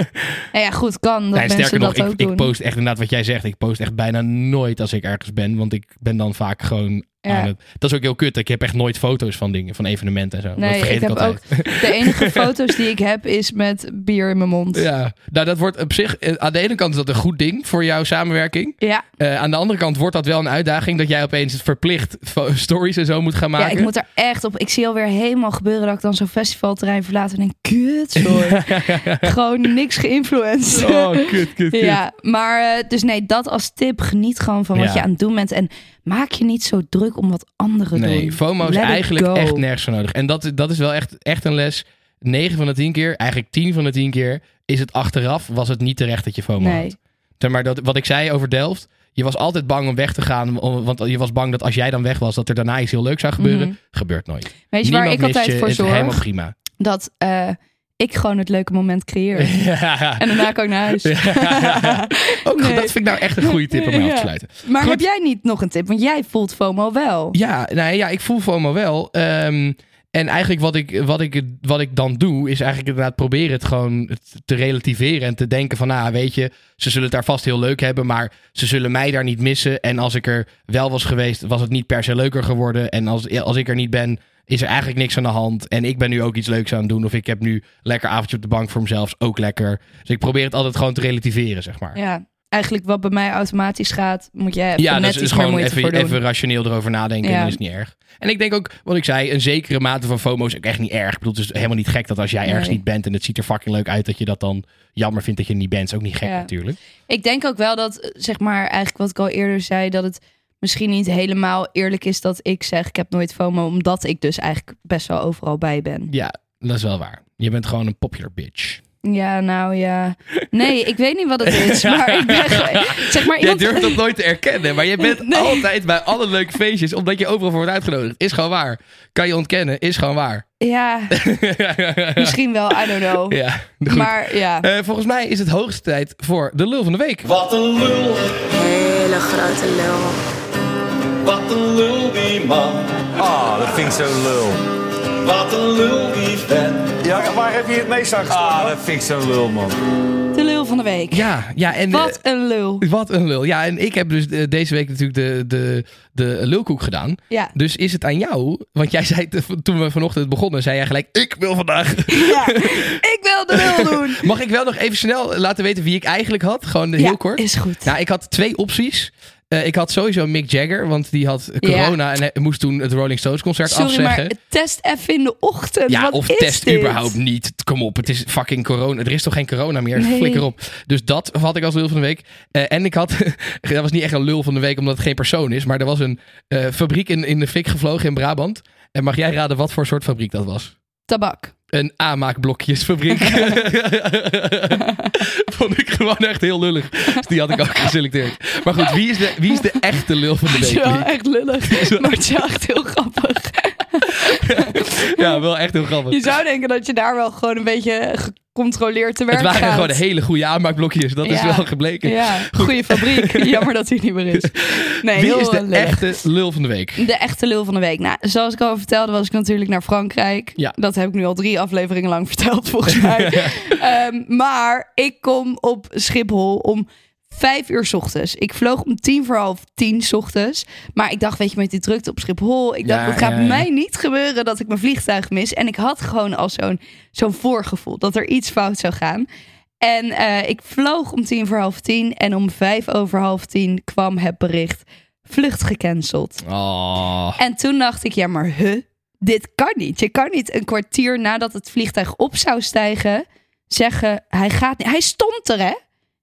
nou ja, goed, kan nee, dat mensen sterker nog, dat ook ik, ik doen. post echt inderdaad wat jij zegt. Ik post echt bijna nooit als ik ergens ben. Want ik ben dan vaak gewoon Ja. aan het... Ah, Dat is ook heel kut. Ik heb echt nooit foto's van dingen, van evenementen en zo. dat Nee, vergeet ik, ik heb altijd. ook de enige foto's die ik heb is met bier in mijn mond. Ja, nou dat wordt op zich... eh, Aan de ene kant is dat een goed ding voor jouw samenwerking. ja. Eh, aan de andere kant wordt dat wel een uitdaging... dat jij opeens het verplicht fo- stories en zo moet gaan maken. Ja, ik moet er echt op. Ik zie alweer helemaal gebeuren dat ik dan zo'n festivalterrein verlaat en denk, kut, sorry. Gewoon niks geïnfluenced. Oh, kut, kut, kut. ja, maar eh, dus nee, dat als tip. Geniet gewoon van wat Ja. je aan het doen bent. En maak je niet zo druk om wat anderen doen. Nee, FOMO is Let it eigenlijk go. echt nergens voor nodig. En dat, dat is wel echt, echt een les. 9 van de 10 keer, eigenlijk 10 van de 10 keer, is het achteraf, was het niet terecht dat je FOMO Nee. had. Zeg Maar dat, wat ik zei over Delft, je was altijd bang om weg te gaan. om- Want je was bang dat als jij dan weg was, dat er daarna iets heel leuks zou gebeuren. Mhm. Gebeurt nooit. Weet je Niemand waar ik mist altijd je, voor het is Helemaal zorg? prima. Dat eh, ik gewoon het leuke moment creëer. Ja. en daarna kan ik naar huis. Ook, Nee. Dat vind ik nou echt een goede tip om mee af te Ja. sluiten. Maar Goed. heb jij niet nog een tip? Want jij voelt FOMO wel. Ja, nou ja, ik voel FOMO wel. Ehm, en eigenlijk wat ik, wat, ik, wat ik dan doe, is eigenlijk inderdaad proberen het gewoon te relativeren. En te denken van, nou weet je, ze zullen het daar vast heel leuk hebben. Maar ze zullen mij daar niet missen. En als ik er wel was geweest, was het niet per se leuker geworden. En als, als ik er niet ben, is er eigenlijk niks aan de hand. En ik ben nu ook iets leuks aan het doen. Of ik heb nu lekker avondje op de bank voor mezelf, is ook lekker. Dus ik probeer het altijd gewoon te relativeren, zeg maar. Ja, eigenlijk wat bij mij automatisch gaat, moet jij even Ja, net dus iets is meer gewoon moeite voor even, doen. even rationeel erover nadenken. Ja. En dat is niet erg. En ik denk ook, wat ik zei, een zekere mate van FOMO is ook echt niet erg. Ik bedoel, het is helemaal niet gek dat als jij ergens Nee. niet bent en het ziet er fucking leuk uit, dat je dat dan jammer vindt dat je er niet bent. Is ook niet gek Ja. natuurlijk. Ik denk ook wel dat, eh, zeg maar, eigenlijk wat ik al eerder zei, dat het misschien niet helemaal eerlijk is dat ik zeg, ik heb nooit FOMO, omdat ik dus eigenlijk best wel overal bij ben. Ja, dat is wel waar. Je bent gewoon een popular bitch. Ja, nou ja. Nee, ik weet niet wat het is, maar ik ben gewoon- zeg maar iemand... Jij durft dat nooit te erkennen, maar je bent Nee. altijd bij alle leuke feestjes, omdat je overal voor wordt uitgenodigd. Is gewoon waar. Kan je ontkennen, is gewoon waar. Ja, misschien wel, I don't know. ja, goed. Maar ja, Eh, volgens mij is het hoogste tijd voor de lul van de week. Wat een lul, Hele grote lul. wat een lul die man. Ah, dat vind ik zo lul. Wat een lul die vent. Ja, waar heb je het meest aan Ah, dat vind ik zo lul, man. de lul van de week. Ja, ja en eh, Wat een lul. Wat een lul. Ja, en ik heb dus eh, deze week natuurlijk de, de, de lulkoek gedaan. Ja. Dus is het aan jou? Want jij zei te- toen we vanochtend begonnen, zei jij gelijk: Ik wil vandaag. Ja, ik wil de lul doen. Mag ik wel nog even snel laten weten wie ik eigenlijk had? Gewoon heel Ja, kort. is goed. Nou, ik had twee opties. Eh, ik had sowieso Mick Jagger, want die had corona en hij moest toen het Rolling Stones concert Sorry, afzeggen. maar test even in de ochtend. Ja, Wat of is test dit? überhaupt niet. Kom op, het is fucking corona. Er is toch geen corona meer? Nee. Flikker op. Dus dat had ik als lul van de week. Eh, en ik had, dat was niet echt een lul van de week omdat het geen persoon is, maar er was een eh, fabriek in, in de fik gevlogen in Brabant. En mag jij raden wat voor soort fabriek dat was? Tabak. Een aanmaakblokjesfabriek. Vond ik gewoon echt heel lullig. Dus die had ik ook geselecteerd. Maar goed, wie is de, wie is de echte lul van de Het is week? wel Liek? echt lullig, maar het is wel echt heel grappig. Ja, wel echt heel grappig. Je zou denken dat je daar wel gewoon een beetje gecontroleerd te werk Het waren gaat. gewoon hele goede aanmaakblokjes. Dat is Ja. wel gebleken. Ja, goede fabriek. Jammer dat hij niet meer is. Nee, Wie heel eh, is de lullig. echte lul van de week? De echte lul van de week. Nou, zoals ik al vertelde, was ik natuurlijk naar Frankrijk. Ja. Dat heb ik nu al drie afleveringen lang verteld, volgens mij. Ehm, maar ik kom op Schiphol om vijf uur 's ochtends. Ik vloog om tien voor half tien 's ochtends. Maar ik dacht, weet je, met die drukte op Schiphol. Ik dacht, Ja, het gaat ja, ja. mij niet gebeuren dat ik mijn vliegtuig mis. En ik had gewoon al zo'n zo'n voorgevoel dat er iets fout zou gaan. En eh, ik vloog om tien voor half tien. En om vijf over half tien kwam het bericht. Vlucht gecanceld. Oh. En toen dacht ik, ja, maar huh? Dit kan niet. Je kan niet een kwartier nadat het vliegtuig op zou stijgen zeggen: hij gaat niet. Hij stond er, hè?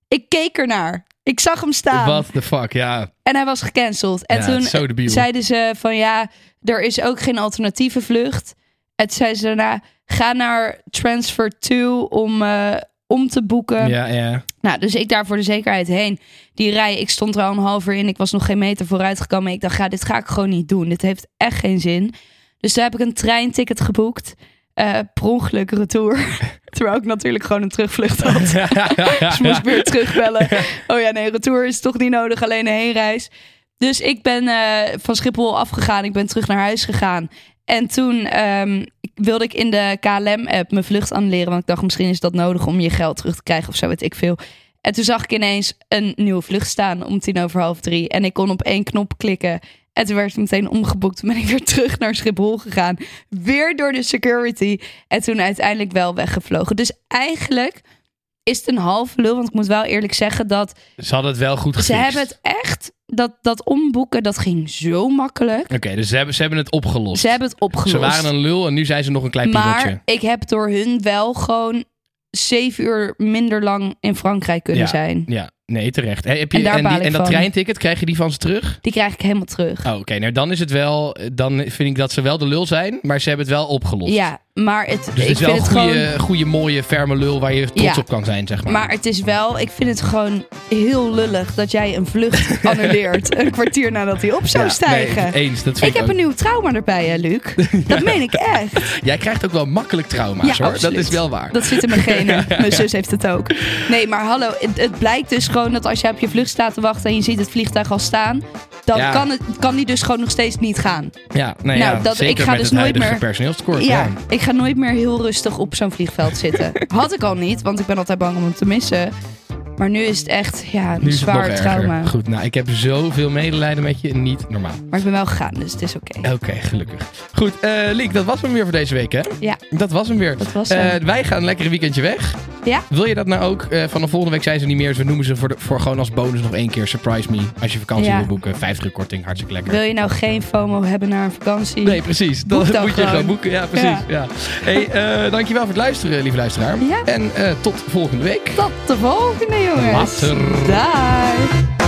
Ik keek ernaar. Ik zag hem staan. What the fuck, ja. En hij was gecanceld. En Ja, toen het is zo debiel. zeiden ze van ja, er is ook geen alternatieve vlucht. En toen zeiden ze daarna: ga naar Transfer 2 om, eh, om te boeken. Ja, ja. Nou, dus ik daar voor de zekerheid heen. Die rij, ik stond er al een half uur in. Ik was nog geen meter vooruit gekomen. Ik dacht, ja, dit ga ik gewoon niet doen. Dit heeft echt geen zin. Dus toen heb ik een treinticket geboekt. Eh per ongeluk retour. Terwijl ik natuurlijk gewoon een terugvlucht had. Dus moest ik weer terugbellen. Oh ja, nee, retour is toch niet nodig. Alleen een heenreis. Dus ik ben eh, van Schiphol afgegaan. Ik ben terug naar huis gegaan. En toen ehm, wilde ik in de KLM-app mijn vlucht annuleren. Want ik dacht, misschien is dat nodig om je geld terug te krijgen of zo, weet ik veel. En toen zag ik ineens een nieuwe vlucht staan om tien over half drie. En ik kon op één knop klikken. En toen werd het meteen omgeboekt. Toen ben ik weer terug naar Schiphol gegaan. Weer door de security. En toen uiteindelijk wel weggevlogen. Dus eigenlijk is het een half lul. Want ik moet wel eerlijk zeggen dat Ze hadden het wel goed ze gefixt. hebben het echt... Dat, dat omboeken, dat ging zo makkelijk. Oké, dus ze hebben, ze hebben het opgelost. Ze hebben het opgelost. Ze waren een lul en nu zijn ze nog een klein Maar piemeltje. ik heb door hun wel gewoon zeven uur minder lang in Frankrijk kunnen Ja. zijn. Ja, nee, terecht. Hey, heb je, En en, daar baal die, ik en dat van. treinticket, krijg je die van ze terug? Die krijg ik helemaal terug. Oh, oké. Nou, dan is het wel... Dan vind ik dat ze wel de lul zijn, maar ze hebben het wel opgelost. Ja, maar het, Dus ik het is vind wel een het goede, gewoon... goede, mooie, ferme lul waar je trots Ja. op kan zijn, zeg maar. Maar het is wel, ik vind het gewoon heel lullig dat jij een vlucht annuleert. een kwartier nadat hij op zou Ja, stijgen. Nee, eens, dat vind ik ik heb ook. een nieuw trauma erbij, hè, Luc. Dat meen ik echt. Jij krijgt ook wel makkelijk trauma's, Ja, hoor. absoluut. Dat is wel waar. Dat zit in mijn genen. Mijn zus heeft het ook. Nee, maar hallo, het, het blijkt dus gewoon dat als jij op je vlucht staat te wachten en je ziet het vliegtuig al staan, dan Ja. kan, het, kan die dus gewoon nog steeds niet gaan. Ja, nou, Nou, ja, dat- zeker ik ga met dus het nooit huidige meer- personeelstekort. Ja, Ja. ik ga nooit meer heel rustig op zo'n vliegveld zitten. Had ik al niet, want ik ben altijd bang om hem te missen. Maar nu is het echt ja, een Nu is het nog zwaar erger. trauma. Goed, nou, ik heb zoveel medelijden met je. Niet normaal. Maar ik ben wel gegaan, dus het is oké. Oké, gelukkig. Goed, eh Liek, dat was hem weer voor deze week, hè? Ja. Dat was hem weer. Dat was hem. Eh, wij gaan een lekkere weekendje weg. Ja. Wil je dat nou ook? Eh, vanaf volgende week zijn ze niet meer. Dus we noemen ze voor, de, voor gewoon als bonus nog één keer Surprise Me. Als je vakantie Ja. wil boeken, 50 korting, hartstikke lekker. Wil je nou geen FOMO hebben naar een vakantie? Nee, precies. Dat Boek dan moet je gewoon. gaan boeken. Ja, precies. Ja. Ja. Hey, eh, dankjewel voor het luisteren, lieve luisteraar. Ja. En eh, tot volgende week. Tot de volgende, jongens. Later. Daai.